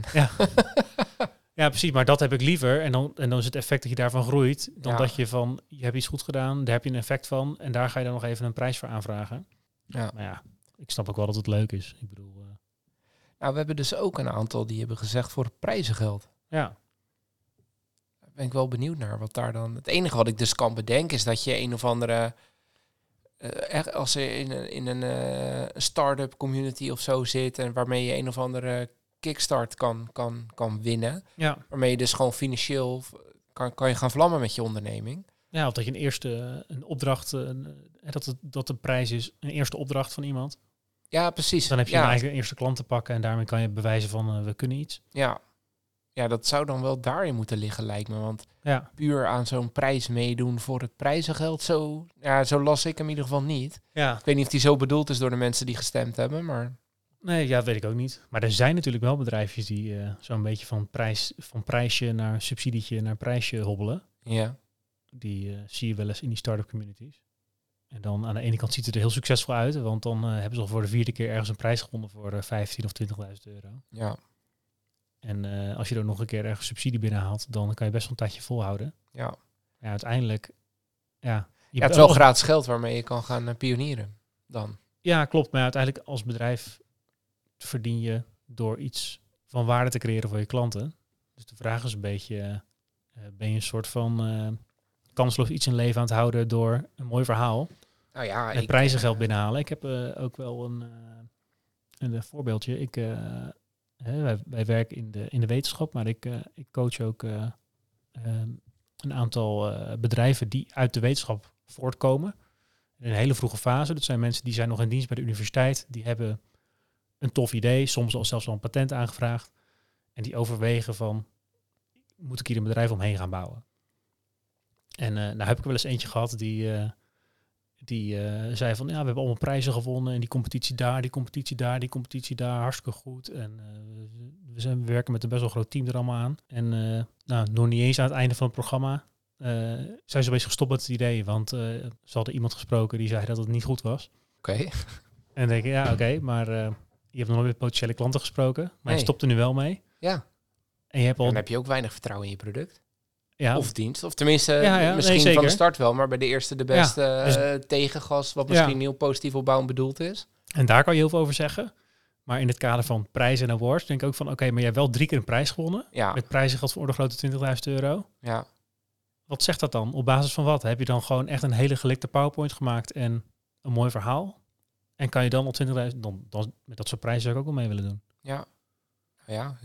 Speaker 2: ja, precies. Maar dat heb ik liever. En dan, en dan is het effect dat je daarvan groeit, dan
Speaker 1: Ja.
Speaker 2: dat je van, je hebt iets goed gedaan, daar heb je een effect van en daar ga je dan nog even een prijs voor aanvragen.
Speaker 1: Ja.
Speaker 2: Maar ja, ik snap ook wel dat het leuk is. Ik bedoel... eh,
Speaker 1: nou, we hebben dus ook een aantal die hebben gezegd voor het prijzengeld.
Speaker 2: Ja,
Speaker 1: Daar ben ik wel benieuwd naar wat daar dan... Het enige wat ik dus kan bedenken is dat je een of andere... eh, echt als je in een, in een eh, start-up community of zo zit... en waarmee je een of andere kickstart kan, kan, kan winnen...
Speaker 2: ja.
Speaker 1: Waarmee je dus gewoon financieel v- kan, kan je gaan vlammen met je onderneming.
Speaker 2: ja of dat je een eerste een opdracht, een, eh, dat, het, dat de prijs is een eerste opdracht van iemand.
Speaker 1: Ja, precies.
Speaker 2: Dus dan heb je
Speaker 1: ja,
Speaker 2: een eigen eerste klant te pakken en daarmee kan je bewijzen van eh, we kunnen iets.
Speaker 1: ja. ja, dat zou dan wel daarin moeten liggen, lijkt me. Want
Speaker 2: Ja,
Speaker 1: puur aan zo'n prijs meedoen voor het prijzengeld, zo, ja, zo las ik hem in ieder geval niet.
Speaker 2: ja.
Speaker 1: Ik weet niet of die zo bedoeld is door de mensen die gestemd hebben, maar
Speaker 2: Nee, ja, weet ik ook niet. Maar er zijn natuurlijk wel bedrijfjes die eh, zo'n beetje van, prijs, van prijsje naar subsidietje naar prijsje hobbelen.
Speaker 1: ja.
Speaker 2: Die eh, zie je wel eens in die start-up communities. En dan aan de ene kant ziet het er heel succesvol uit, want dan eh, hebben ze al voor de vierde keer ergens een prijs gewonnen voor eh, 15 of 20.000 euro.
Speaker 1: ja.
Speaker 2: En eh, als je er nog een keer ergens subsidie binnenhaalt, dan kan je best wel een tijdje volhouden.
Speaker 1: Ja.
Speaker 2: Ja, uiteindelijk, ja. Je
Speaker 1: ja het is wel
Speaker 2: belt-
Speaker 1: gratis geld waarmee je kan gaan eh, pionieren dan.
Speaker 2: Ja, klopt. Maar uiteindelijk als bedrijf verdien je door iets van waarde te creëren voor je klanten. Dus de vraag is een beetje, eh, ben je een soort van eh, kansloos iets in leven aan het houden door een mooi verhaal
Speaker 1: Nou ja,
Speaker 2: en
Speaker 1: ik-
Speaker 2: prijzengeld binnenhalen? Ik heb eh, ook wel een, eh, een voorbeeldje. Ik eh, hè, wij, wij werken in de, in de wetenschap, maar ik, eh, ik coach ook eh, ehm, een aantal eh, bedrijven die uit de wetenschap voortkomen. In een hele vroege fase. Dat zijn mensen die zijn nog in dienst bij de universiteit. Die hebben een tof idee, soms al zelfs al een patent aangevraagd. En die overwegen van, moet ik hier een bedrijf omheen gaan bouwen? En eh nou heb ik wel eens eentje gehad die... eh, die eh, zei van ja, we hebben allemaal prijzen gewonnen en die competitie daar, die competitie daar, die competitie daar, hartstikke goed. En eh, we, zijn, we werken met een best wel groot team er allemaal aan. En eh, nou, nog niet eens aan het einde van het programma eh, zijn ze opeens gestopt met het idee, want eh ze hadden iemand gesproken die zei dat het niet goed was.
Speaker 1: Oké.
Speaker 2: [LAUGHS] En dan denk ik, ja oké, maar eh, je hebt nog nooit met potentiële klanten gesproken, maar
Speaker 1: Nee.
Speaker 2: je stopt er nu wel mee.
Speaker 1: Ja.
Speaker 2: En je hebt al,
Speaker 1: Dan heb je ook weinig vertrouwen in je product.
Speaker 2: ja,
Speaker 1: Of dienst. Of tenminste,
Speaker 2: Ja, ja,
Speaker 1: misschien
Speaker 2: nee,
Speaker 1: van
Speaker 2: zeker.
Speaker 1: de start wel, maar bij de eerste de beste
Speaker 2: dus-
Speaker 1: eh, tegengas, wat
Speaker 2: Ja.
Speaker 1: misschien heel positief opbouwend bedoeld is.
Speaker 2: En daar kan je heel veel over zeggen. Maar in het kader van prijzen en awards denk ik ook van oké, maar jij hebt wel drie keer een prijs gewonnen.
Speaker 1: Ja,
Speaker 2: Met prijzen geldt voor de grote 20.000 euro.
Speaker 1: ja.
Speaker 2: Wat zegt dat dan? Op basis van wat? Heb je dan gewoon echt een hele gelikte PowerPoint gemaakt en een mooi verhaal? En kan je dan op 20.000, dan, dan, met dat soort prijzen zou ik ook wel mee willen doen.
Speaker 1: ja.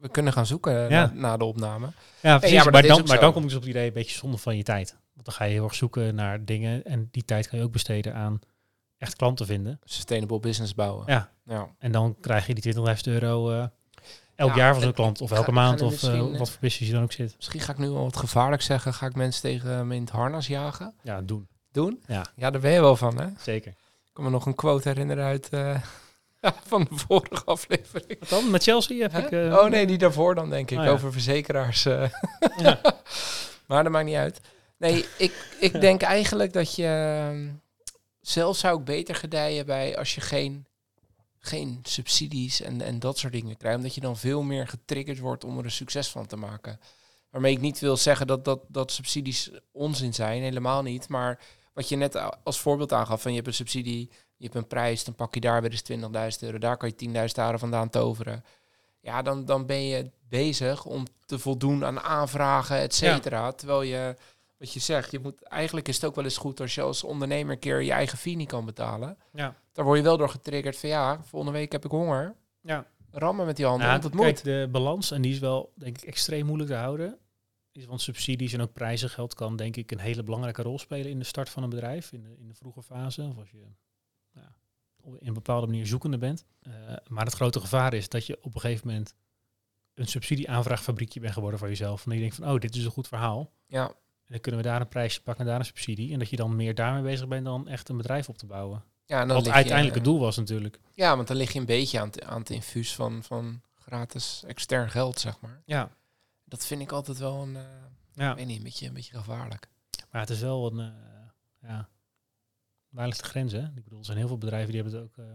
Speaker 1: We kunnen gaan zoeken eh,
Speaker 2: Ja.
Speaker 1: na, na de opname.
Speaker 2: Ja, precies.
Speaker 1: ja, maar
Speaker 2: maar,
Speaker 1: dat is
Speaker 2: dan,
Speaker 1: ook
Speaker 2: maar
Speaker 1: zo.
Speaker 2: dan kom ik dus op het idee, een beetje zonde van je tijd. Want dan ga je heel erg zoeken naar dingen en die tijd kan je ook besteden aan echt klanten vinden.
Speaker 1: Sustainable business bouwen.
Speaker 2: Ja.
Speaker 1: ja.
Speaker 2: En dan krijg je die 20.000 euro eh, elk
Speaker 1: Ja,
Speaker 2: jaar van zo'n
Speaker 1: het-
Speaker 2: klant of
Speaker 1: ga-
Speaker 2: elke
Speaker 1: we
Speaker 2: maand
Speaker 1: gaan er
Speaker 2: of eh,
Speaker 1: misschien, eh,
Speaker 2: wat voor business je dan ook zit.
Speaker 1: Misschien ga ik nu al wat gevaarlijk zeggen. Ga ik mensen tegen eh, me in het harnas jagen?
Speaker 2: Ja, doen.
Speaker 1: Doen?
Speaker 2: Ja.
Speaker 1: Ja, daar ben je wel van, hè?
Speaker 2: Zeker.
Speaker 1: Ik kan me nog een quote herinneren uit eh, [LAUGHS] van de vorige aflevering.
Speaker 2: Wat dan? Met Chelsea heb
Speaker 1: Hè?
Speaker 2: ik... eh,
Speaker 1: oh nee, die daarvoor dan denk ik.
Speaker 2: Oh ja.
Speaker 1: Over verzekeraars. eh.
Speaker 2: Ja.
Speaker 1: [LAUGHS] maar dat maakt niet uit. Nee, ik, ik denk eigenlijk dat je... ehm, Zelf zou ik beter gedijen bij als je geen, geen subsidies en, en dat soort dingen krijgt. Omdat je dan veel meer getriggerd wordt om er een succes van te maken. Waarmee ik niet wil zeggen dat, dat, dat subsidies onzin zijn. Helemaal niet. Maar wat je net a- als voorbeeld aangaf. Van je hebt een subsidie, je hebt een prijs. Dan pak je daar weer eens 20.000 euro. Daar kan je 10.000 euro vandaan toveren ja, dan, dan ben je bezig om te voldoen aan aanvragen, et cetera. Terwijl je, wat je zegt, je moet, eigenlijk is het ook wel eens goed als je als ondernemer een keer je eigen fee niet kan betalen.
Speaker 2: Ja.
Speaker 1: Daar word je wel door getriggerd van ja, volgende week heb ik honger.
Speaker 2: Ja.
Speaker 1: Rammen met die handen,
Speaker 2: Nou,
Speaker 1: want het
Speaker 2: kijk,
Speaker 1: moet.
Speaker 2: de balans, en die is wel denk ik extreem moeilijk te houden. Is, want subsidies en ook prijzengeld kan denk ik een hele belangrijke rol spelen in de start van een bedrijf, in de, in de vroege fase. Of als je nou ja, op in een bepaalde manier zoekende bent. Eh, maar het grote gevaar is dat je op een gegeven moment een subsidieaanvraagfabriekje bent geworden voor jezelf. En dat je denkt van, oh, dit is een goed verhaal.
Speaker 1: Ja,
Speaker 2: En dan kunnen we daar een prijsje pakken en daar een subsidie. En dat je dan meer daarmee bezig bent dan echt een bedrijf op te bouwen.
Speaker 1: ja, en dan lig
Speaker 2: Wat
Speaker 1: je- eh,
Speaker 2: uiteindelijk het doel was natuurlijk.
Speaker 1: Ja, want dan lig je een beetje aan het, aan het infuus van, van gratis extern geld, zeg maar.
Speaker 2: Ja.
Speaker 1: Dat vind ik altijd wel een, eh,
Speaker 2: ja.
Speaker 1: ik weet niet, een beetje, een beetje gevaarlijk.
Speaker 2: Maar het is wel een. eh, ja. Waar ligt de grens, hè? Ik bedoel, er zijn heel veel bedrijven die hebben het ook eh,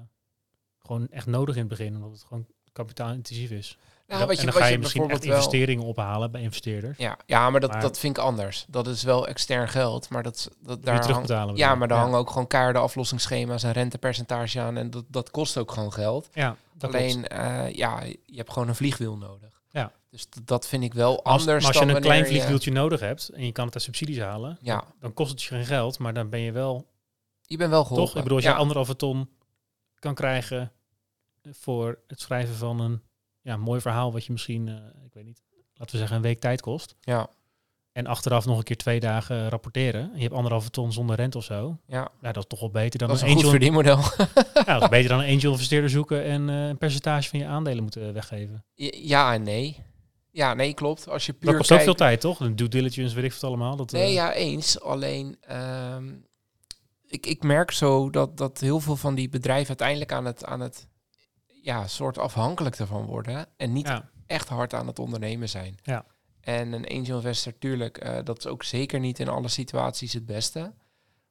Speaker 2: gewoon echt nodig in het begin, omdat het gewoon kapitaalintensief is.
Speaker 1: Nou,
Speaker 2: en dan,
Speaker 1: wat
Speaker 2: en dan
Speaker 1: wat
Speaker 2: ga je misschien echt
Speaker 1: bijvoorbeeld wel-
Speaker 2: investeringen ophalen bij investeerders.
Speaker 1: Ja, ja maar, dat,
Speaker 2: Maar-
Speaker 1: dat vind ik anders. Dat is wel extern geld, maar dat, is- dat
Speaker 2: Daar
Speaker 1: daar hangt-
Speaker 2: terugbetalen. bedoel
Speaker 1: ja,
Speaker 2: ik.
Speaker 1: maar daar hangen ook gewoon keiharde aflossingsschema's en rentepercentage aan en dat, dat kost ook gewoon geld.
Speaker 2: Ja, dat klopt.
Speaker 1: Alleen, eh, ja, je hebt gewoon een vliegwiel nodig.
Speaker 2: Ja.
Speaker 1: Dus d- dat vind ik wel
Speaker 2: Maar als,
Speaker 1: anders
Speaker 2: maar als je
Speaker 1: dan
Speaker 2: een klein
Speaker 1: wanneer je-
Speaker 2: vliegwieltje nodig hebt en je kan het uit subsidies halen,
Speaker 1: Ja,
Speaker 2: dan kost het je geen geld, maar dan ben je wel
Speaker 1: je bent wel geholpen.
Speaker 2: toch. Ik bedoel, als
Speaker 1: ja,
Speaker 2: je anderhalve ton kan krijgen voor het schrijven van een ja, mooi verhaal, wat je misschien, eh, ik weet niet, laten we zeggen, een week tijd kost.
Speaker 1: ja,
Speaker 2: En achteraf nog een keer twee dagen rapporteren. En je hebt anderhalve ton zonder rente of zo.
Speaker 1: ja,
Speaker 2: Nou, dat is toch wel beter dan
Speaker 1: dat is
Speaker 2: een
Speaker 1: een goed
Speaker 2: angel.
Speaker 1: verdienmodel. [LAUGHS]
Speaker 2: Ja, dat is beter dan een angel investeerder zoeken en eh, een percentage van je aandelen moeten eh, weggeven.
Speaker 1: ja en nee. Ja, nee, klopt. Als je puur
Speaker 2: Dat kost ook
Speaker 1: kijkt...
Speaker 2: veel tijd, toch? Een due diligence, weet ik veel allemaal. Dat, eh,
Speaker 1: Nee, ja, eens. Alleen, ehm, ik, ik merk zo dat, dat heel veel van die bedrijven uiteindelijk aan het, aan het ja, soort afhankelijk ervan worden. En niet
Speaker 2: ja,
Speaker 1: echt hard aan het ondernemen zijn.
Speaker 2: Ja.
Speaker 1: En een angel investor, tuurlijk, eh, dat is ook zeker niet in alle situaties het beste.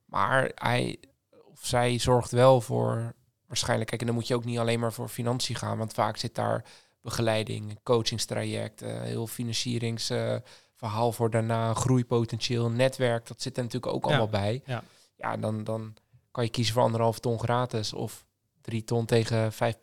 Speaker 1: Maar hij of zij zorgt wel voor waarschijnlijk. Kijk, en dan moet je ook niet alleen maar voor financiën gaan, want vaak zit daar begeleiding, een coachingstraject, eh, heel financieringsverhaal verhaal voor daarna, groeipotentieel, netwerk, dat zit er natuurlijk ook
Speaker 2: Ja,
Speaker 1: allemaal bij.
Speaker 2: ja.
Speaker 1: ja dan, dan kan je kiezen voor anderhalf ton gratis of drie ton tegen 5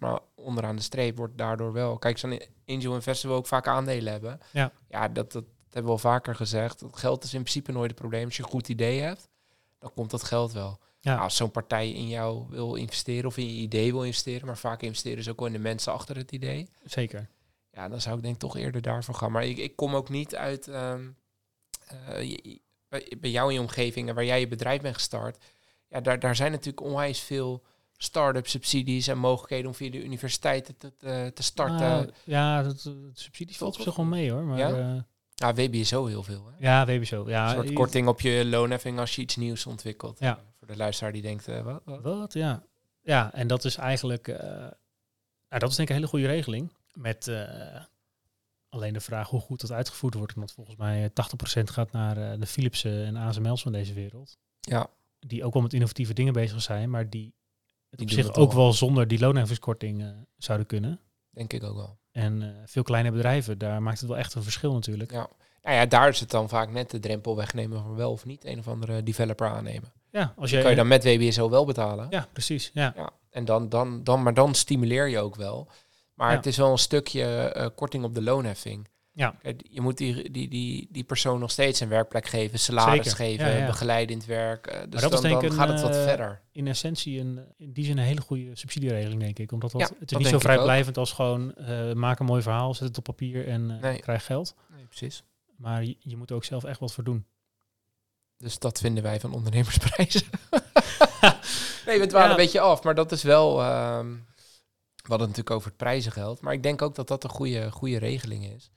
Speaker 1: Maar onderaan de streep wordt daardoor wel. Kijk, zo'n angel investor wil ook vaak aandelen hebben.
Speaker 2: Ja.
Speaker 1: ja dat, dat hebben we al vaker gezegd. Dat geld is in principe nooit het probleem. Als je een goed idee hebt, dan dan komt dat geld wel.
Speaker 2: Ja.
Speaker 1: Nou, als zo'n partij in jou wil investeren of in je idee wil investeren, maar vaak investeren ze ook wel in de mensen achter het idee.
Speaker 2: Zeker.
Speaker 1: Ja, dan zou ik denk ik toch eerder daarvoor gaan. Maar ik, ik kom ook niet uit ehm, eh, je- bij- bij jou in je omgeving en waar jij je bedrijf bent gestart. Ja, daar, daar zijn natuurlijk onwijs veel start-up subsidies en mogelijkheden om via de universiteiten te, te, te starten.
Speaker 2: Nou, ja, dat, dat subsidie valt op
Speaker 1: eh, Valt
Speaker 2: zich wel mee hoor. Maar,
Speaker 1: Ja?
Speaker 2: ja?
Speaker 1: ja, WBSO heel veel. Hè?
Speaker 2: ja, WBSO. Ja,
Speaker 1: Een soort
Speaker 2: je-
Speaker 1: korting op je loonheffing als je iets nieuws ontwikkelt.
Speaker 2: Ja.
Speaker 1: Voor de luisteraar die denkt, eh, wat, wat?
Speaker 2: Wat? Ja. Ja, en dat is eigenlijk... eh, nou, dat is denk ik een hele goede regeling. Met eh, alleen de vraag hoe goed dat uitgevoerd wordt. Want volgens mij eh, 80% gaat naar eh, de Philipsen en ASML's van deze wereld.
Speaker 1: Ja.
Speaker 2: Die ook wel met innovatieve dingen bezig zijn. Maar die
Speaker 1: Die
Speaker 2: het op
Speaker 1: doen
Speaker 2: zich
Speaker 1: het
Speaker 2: ook
Speaker 1: al.
Speaker 2: wel zonder die loonheffingskorting eh, zouden kunnen.
Speaker 1: Denk ik ook wel.
Speaker 2: En eh, veel kleine bedrijven, daar maakt het wel echt een verschil natuurlijk.
Speaker 1: Ja. Nou ja, daar is het dan vaak net de drempel wegnemen van wel of niet een of andere developer aannemen.
Speaker 2: Ja, als
Speaker 1: Kan je
Speaker 2: jij...
Speaker 1: dan met WBSO wel betalen.
Speaker 2: Ja, precies. Ja.
Speaker 1: Ja. En dan, dan, dan, maar dan stimuleer je ook wel. Maar
Speaker 2: Ja.
Speaker 1: het is wel een stukje eh, korting op de loonheffing.
Speaker 2: Ja.
Speaker 1: Kijk, Je moet die, die, die, die persoon nog steeds een werkplek geven, salaris
Speaker 2: Zeker.
Speaker 1: geven,
Speaker 2: Ja, ja.
Speaker 1: begeleidend werk. eh, dus
Speaker 2: dat is
Speaker 1: dan,
Speaker 2: denk ik
Speaker 1: dan
Speaker 2: een,
Speaker 1: gaat het wat
Speaker 2: eh,
Speaker 1: verder.
Speaker 2: in essentie een, in die zin een hele goede subsidieregeling, denk ik. Omdat dat,
Speaker 1: Ja,
Speaker 2: het is
Speaker 1: dat
Speaker 2: niet
Speaker 1: denk
Speaker 2: zo
Speaker 1: ik
Speaker 2: vrijblijvend als gewoon eh, maak een mooi verhaal, zet het op papier en eh,
Speaker 1: Nee.
Speaker 2: krijg geld.
Speaker 1: Nee, precies.
Speaker 2: Maar je, je moet er ook zelf echt wat voor doen.
Speaker 1: Dus dat vinden wij van
Speaker 2: [LAUGHS]
Speaker 1: ondernemersprijzen. nee, we dwalen
Speaker 2: Ja.
Speaker 1: een beetje af, maar dat is wel... ehm we hadden het natuurlijk over het prijzengeld. Maar ik denk ook dat dat een goede, goede regeling is.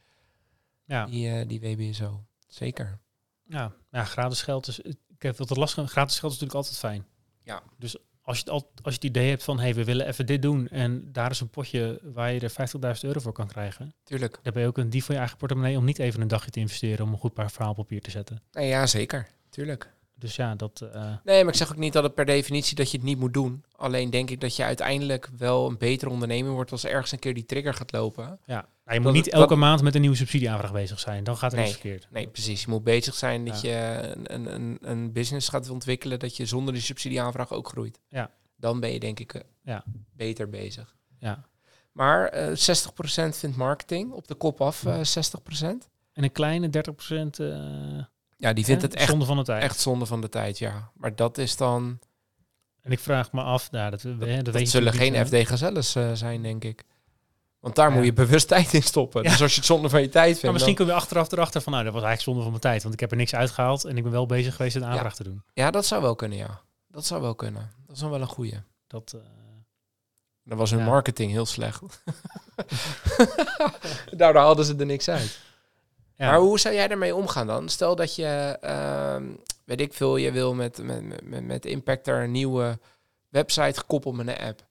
Speaker 2: Ja,
Speaker 1: Die, eh, die WBSO. Zeker.
Speaker 2: ja. ja gratis geld is. Ik heb wat het lastig. Gratis geld is natuurlijk altijd fijn.
Speaker 1: Ja.
Speaker 2: Dus als je, het al, als je het idee hebt van hé, hey, we willen even dit doen en daar is een potje waar je er 50.000 euro voor kan krijgen,
Speaker 1: Tuurlijk.
Speaker 2: dan ben je ook een dief van je eigen portemonnee om niet even een dagje te investeren om een goed paar verhaal op papier te zetten.
Speaker 1: Nee, ja, zeker. Tuurlijk.
Speaker 2: Dus ja, dat. eh,
Speaker 1: Nee, maar ik zeg ook niet dat het per definitie dat je het niet moet doen. Alleen denk ik dat je uiteindelijk wel een betere ondernemer wordt als ergens een keer die trigger gaat lopen.
Speaker 2: Ja, nou, je moet
Speaker 1: Dat-
Speaker 2: niet
Speaker 1: dat-
Speaker 2: elke maand met een nieuwe subsidieaanvraag bezig zijn. Dan gaat er
Speaker 1: Nee,
Speaker 2: iets verkeerd.
Speaker 1: Nee, precies. Je moet bezig zijn dat je een, een- een, een business gaat ontwikkelen dat je zonder die subsidieaanvraag ook groeit.
Speaker 2: Ja.
Speaker 1: Dan ben je denk ik eh,
Speaker 2: Ja.
Speaker 1: beter bezig.
Speaker 2: Ja.
Speaker 1: Maar eh 60% vindt marketing, op de kop af eh, 60%.
Speaker 2: En een kleine 30% procent eh
Speaker 1: Ja, die vindt het echt,
Speaker 2: zonde van de tijd.
Speaker 1: echt zonde van de tijd, ja. Maar dat is dan...
Speaker 2: En ik vraag me af, nou, dat, we- hè, dat,
Speaker 1: Dat
Speaker 2: weet je
Speaker 1: zullen
Speaker 2: natuurlijk
Speaker 1: geen
Speaker 2: niet, hè.
Speaker 1: FD gazelles eh, zijn, denk ik. Want daar
Speaker 2: Ja.
Speaker 1: moet je bewust [LAUGHS] tijd in stoppen.
Speaker 2: Ja.
Speaker 1: Dus als je het zonde van je tijd
Speaker 2: Maar
Speaker 1: vindt.
Speaker 2: misschien kunnen we achteraf erachter van, nou, dat was eigenlijk zonde van mijn tijd. Want ik heb er niks uitgehaald en ik ben wel bezig geweest een aanvraag te doen.
Speaker 1: dan- Ja, dat zou wel kunnen, ja. Dat zou wel kunnen. Dat is dan wel een goeie.
Speaker 2: Dat, eh,
Speaker 1: Dan was hun
Speaker 2: Ja.
Speaker 1: marketing heel slecht. [LAUGHS] Daardoor hadden ze er niks uit.
Speaker 2: ja.
Speaker 1: Maar hoe zou jij daarmee omgaan dan? Stel dat je, ehm, weet ik veel, je wil met, met, met, met Impactor een nieuwe website gekoppeld met een app.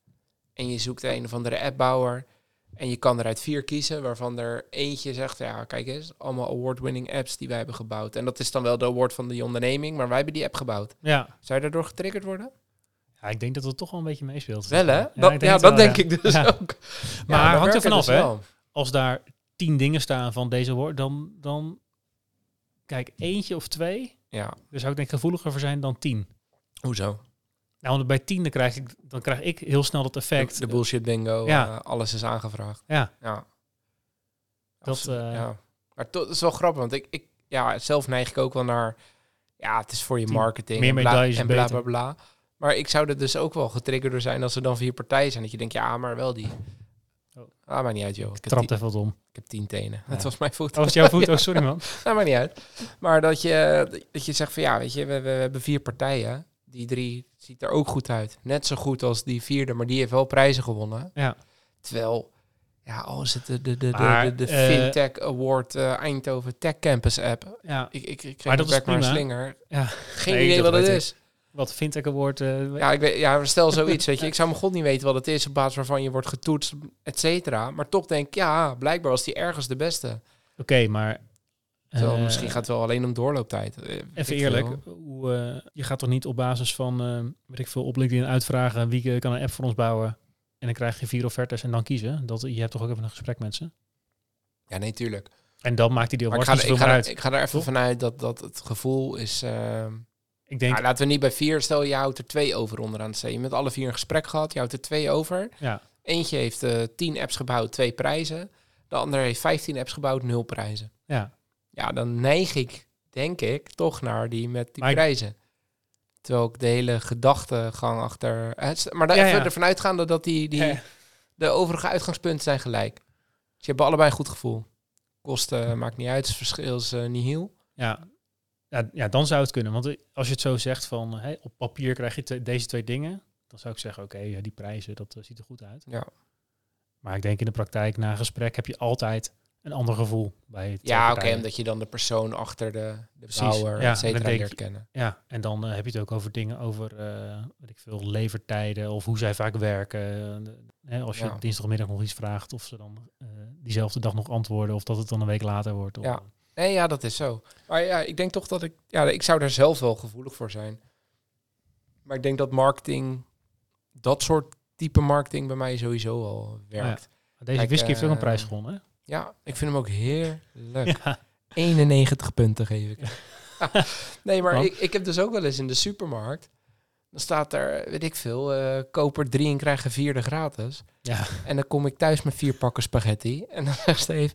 Speaker 1: En je zoekt een of andere appbouwer. En je kan eruit vier kiezen, waarvan er eentje zegt, ja, kijk eens, allemaal award-winning apps die wij hebben gebouwd. En dat is dan wel de award van die onderneming, maar wij hebben die app gebouwd.
Speaker 2: ja.
Speaker 1: Zou je daardoor getriggerd worden?
Speaker 2: ja, ik denk dat het toch wel een beetje meespeelt.
Speaker 1: Wel, hè?
Speaker 2: Ja,
Speaker 1: dat,
Speaker 2: ik
Speaker 1: ja,
Speaker 2: het
Speaker 1: dat
Speaker 2: wel,
Speaker 1: denk
Speaker 2: ja.
Speaker 1: ik dus
Speaker 2: Ja.
Speaker 1: ook.
Speaker 2: Maar
Speaker 1: dan
Speaker 2: hangt er
Speaker 1: werkt
Speaker 2: vanaf,
Speaker 1: dus
Speaker 2: hè?
Speaker 1: wel.
Speaker 2: Als daar tien dingen staan van deze woord, dan, dan kijk, eentje of twee,
Speaker 1: Ja,
Speaker 2: daar zou ik denk ik gevoeliger voor zijn dan tien.
Speaker 1: hoezo?
Speaker 2: Nou, want bij tien dan krijg, ik, dan krijg ik heel snel dat effect.
Speaker 1: De, de bullshit bingo,
Speaker 2: Ja.
Speaker 1: eh, alles is aangevraagd.
Speaker 2: Ja.
Speaker 1: ja.
Speaker 2: Dat,
Speaker 1: Absolu-
Speaker 2: eh,
Speaker 1: ja. Maar toch, dat is wel grappig, want ik, ik ja, zelf neig ik ook wel naar... Ja, het is voor je
Speaker 2: Tien.
Speaker 1: marketing
Speaker 2: Meer
Speaker 1: en, bla,
Speaker 2: medailles
Speaker 1: en
Speaker 2: beter.
Speaker 1: bla, bla, bla. Maar ik zou er dus ook wel getriggerd door zijn als er dan vier partijen zijn. Dat je denkt, ja, maar wel die.
Speaker 2: Oh.
Speaker 1: Ah, maakt niet uit, joh. Ik heb,
Speaker 2: Trapt
Speaker 1: tien,
Speaker 2: even wat om.
Speaker 1: ik heb tien tenen.
Speaker 2: Ja.
Speaker 1: Het was mijn voet.
Speaker 2: [LAUGHS] Oh, was jouw voet? Oh, sorry man.
Speaker 1: [LAUGHS] Nou, maakt niet uit. Maar dat je, dat je zegt van ja, weet je, we, we hebben vier partijen. Die drie ziet er ook goed uit. Net zo goed als die vierde, maar die heeft wel prijzen gewonnen.
Speaker 2: Ja. Terwijl,
Speaker 1: Ja, al is het de, de, de,
Speaker 2: Maar,
Speaker 1: de, de, de
Speaker 2: eh,
Speaker 1: FinTech Award eh, Eindhoven Tech Campus app.
Speaker 2: ja,
Speaker 1: Ik, ik, ik kreeg
Speaker 2: Maar dat
Speaker 1: een
Speaker 2: is
Speaker 1: bek maar een
Speaker 2: prima.
Speaker 1: slinger.
Speaker 2: Ja.
Speaker 1: Geen
Speaker 2: Nee,
Speaker 1: idee
Speaker 2: dat
Speaker 1: wat het
Speaker 2: weet
Speaker 1: is.
Speaker 2: wat fintech award. eh,
Speaker 1: Ja, ik weet, ja, maar stel zoiets, weet je. Ik zou mijn god niet weten wat het is op basis waarvan je wordt getoetst, et cetera. Maar toch denk ik, ja, blijkbaar was die ergens de beste.
Speaker 2: Oké, maar...
Speaker 1: Terwijl
Speaker 2: eh,
Speaker 1: misschien gaat het wel alleen om doorlooptijd. Eh, weet ik
Speaker 2: Even
Speaker 1: veel.
Speaker 2: eerlijk, hoe, eh, je gaat toch niet op basis van, eh weet ik veel, op LinkedIn uitvragen wie eh, kan een app voor ons bouwen. En dan krijg je vier offertes en dan kiezen. Dat, je hebt toch ook even een gesprek met ze.
Speaker 1: Ja, nee, tuurlijk.
Speaker 2: En dan maakt hij die
Speaker 1: Maar ik
Speaker 2: award
Speaker 1: ga, er-
Speaker 2: niet
Speaker 1: ik,
Speaker 2: zoveel
Speaker 1: ga
Speaker 2: meer
Speaker 1: er,
Speaker 2: uit.
Speaker 1: ik ga er even
Speaker 2: Toch?
Speaker 1: vanuit dat, dat het gevoel is... ehm,
Speaker 2: Ik denk,
Speaker 1: nou, laten we niet bij vier... Stel, je houdt er twee over onderaan het zee. Je hebt met alle vier een gesprek gehad. Je houdt er twee over.
Speaker 2: Ja.
Speaker 1: Eentje heeft eh, tien apps gebouwd, twee prijzen. De andere heeft vijftien apps gebouwd, nul prijzen.
Speaker 2: ja.
Speaker 1: Ja, dan neig ik, denk ik, toch naar die met die
Speaker 2: Maar ik-
Speaker 1: prijzen. Terwijl ik de hele gedachtegang achter... eh, st- Maar daar
Speaker 2: Ja,
Speaker 1: even
Speaker 2: ja.
Speaker 1: ervan uitgaande dat die, die,
Speaker 2: Ja, ja.
Speaker 1: de overige uitgangspunten zijn gelijk. Dus je hebt allebei een goed gevoel. Kosten
Speaker 2: Hm.
Speaker 1: maakt niet uit, het verschil is eh, niet heel.
Speaker 2: Ja. Ja, ja, dan zou het kunnen. Want eh, als je het zo zegt van hé, op papier krijg je te- deze twee dingen, dan zou ik zeggen, oké, ja, die prijzen, dat eh, ziet er goed uit.
Speaker 1: Ja.
Speaker 2: Maar ik denk in de praktijk, na een gesprek, heb je altijd een ander gevoel bij het.
Speaker 1: Ja, oké, omdat je dan de persoon achter de, de
Speaker 2: Precies,
Speaker 1: bouwer,
Speaker 2: ja,
Speaker 1: et
Speaker 2: dan
Speaker 1: cetera,
Speaker 2: denk
Speaker 1: leert
Speaker 2: je-
Speaker 1: kennen.
Speaker 2: Ja, en dan eh, heb je het ook over dingen over, eh, weet ik veel, levertijden of hoe zij vaak werken. Hè, als je
Speaker 1: Ja.
Speaker 2: dinsdagmiddag nog iets vraagt, of ze dan eh, diezelfde dag nog antwoorden, of dat het dan een week later wordt. Of, eh,
Speaker 1: Ja. Nee, ja, dat is zo. Maar ja, ik denk toch dat ik... Ja, ik zou daar zelf wel gevoelig voor zijn. Maar ik denk dat marketing... Dat soort type marketing bij mij sowieso al werkt.
Speaker 2: Deze
Speaker 1: Kijk,
Speaker 2: whisky heeft ook een
Speaker 1: eh,
Speaker 2: prijs gewonnen. hè?
Speaker 1: Ja, ik vind hem ook heerlijk.
Speaker 2: Ja.
Speaker 1: 91 punten geef ik. [LAUGHS] nee, maar
Speaker 2: Want?
Speaker 1: ik, ik heb dus ook wel eens in de supermarkt. Dan staat er, weet ik veel, eh, koper drie en krijg een vierde gratis.
Speaker 2: Ja.
Speaker 1: En dan kom ik thuis met vier pakken spaghetti. En dan [LAUGHS] zegt Steve,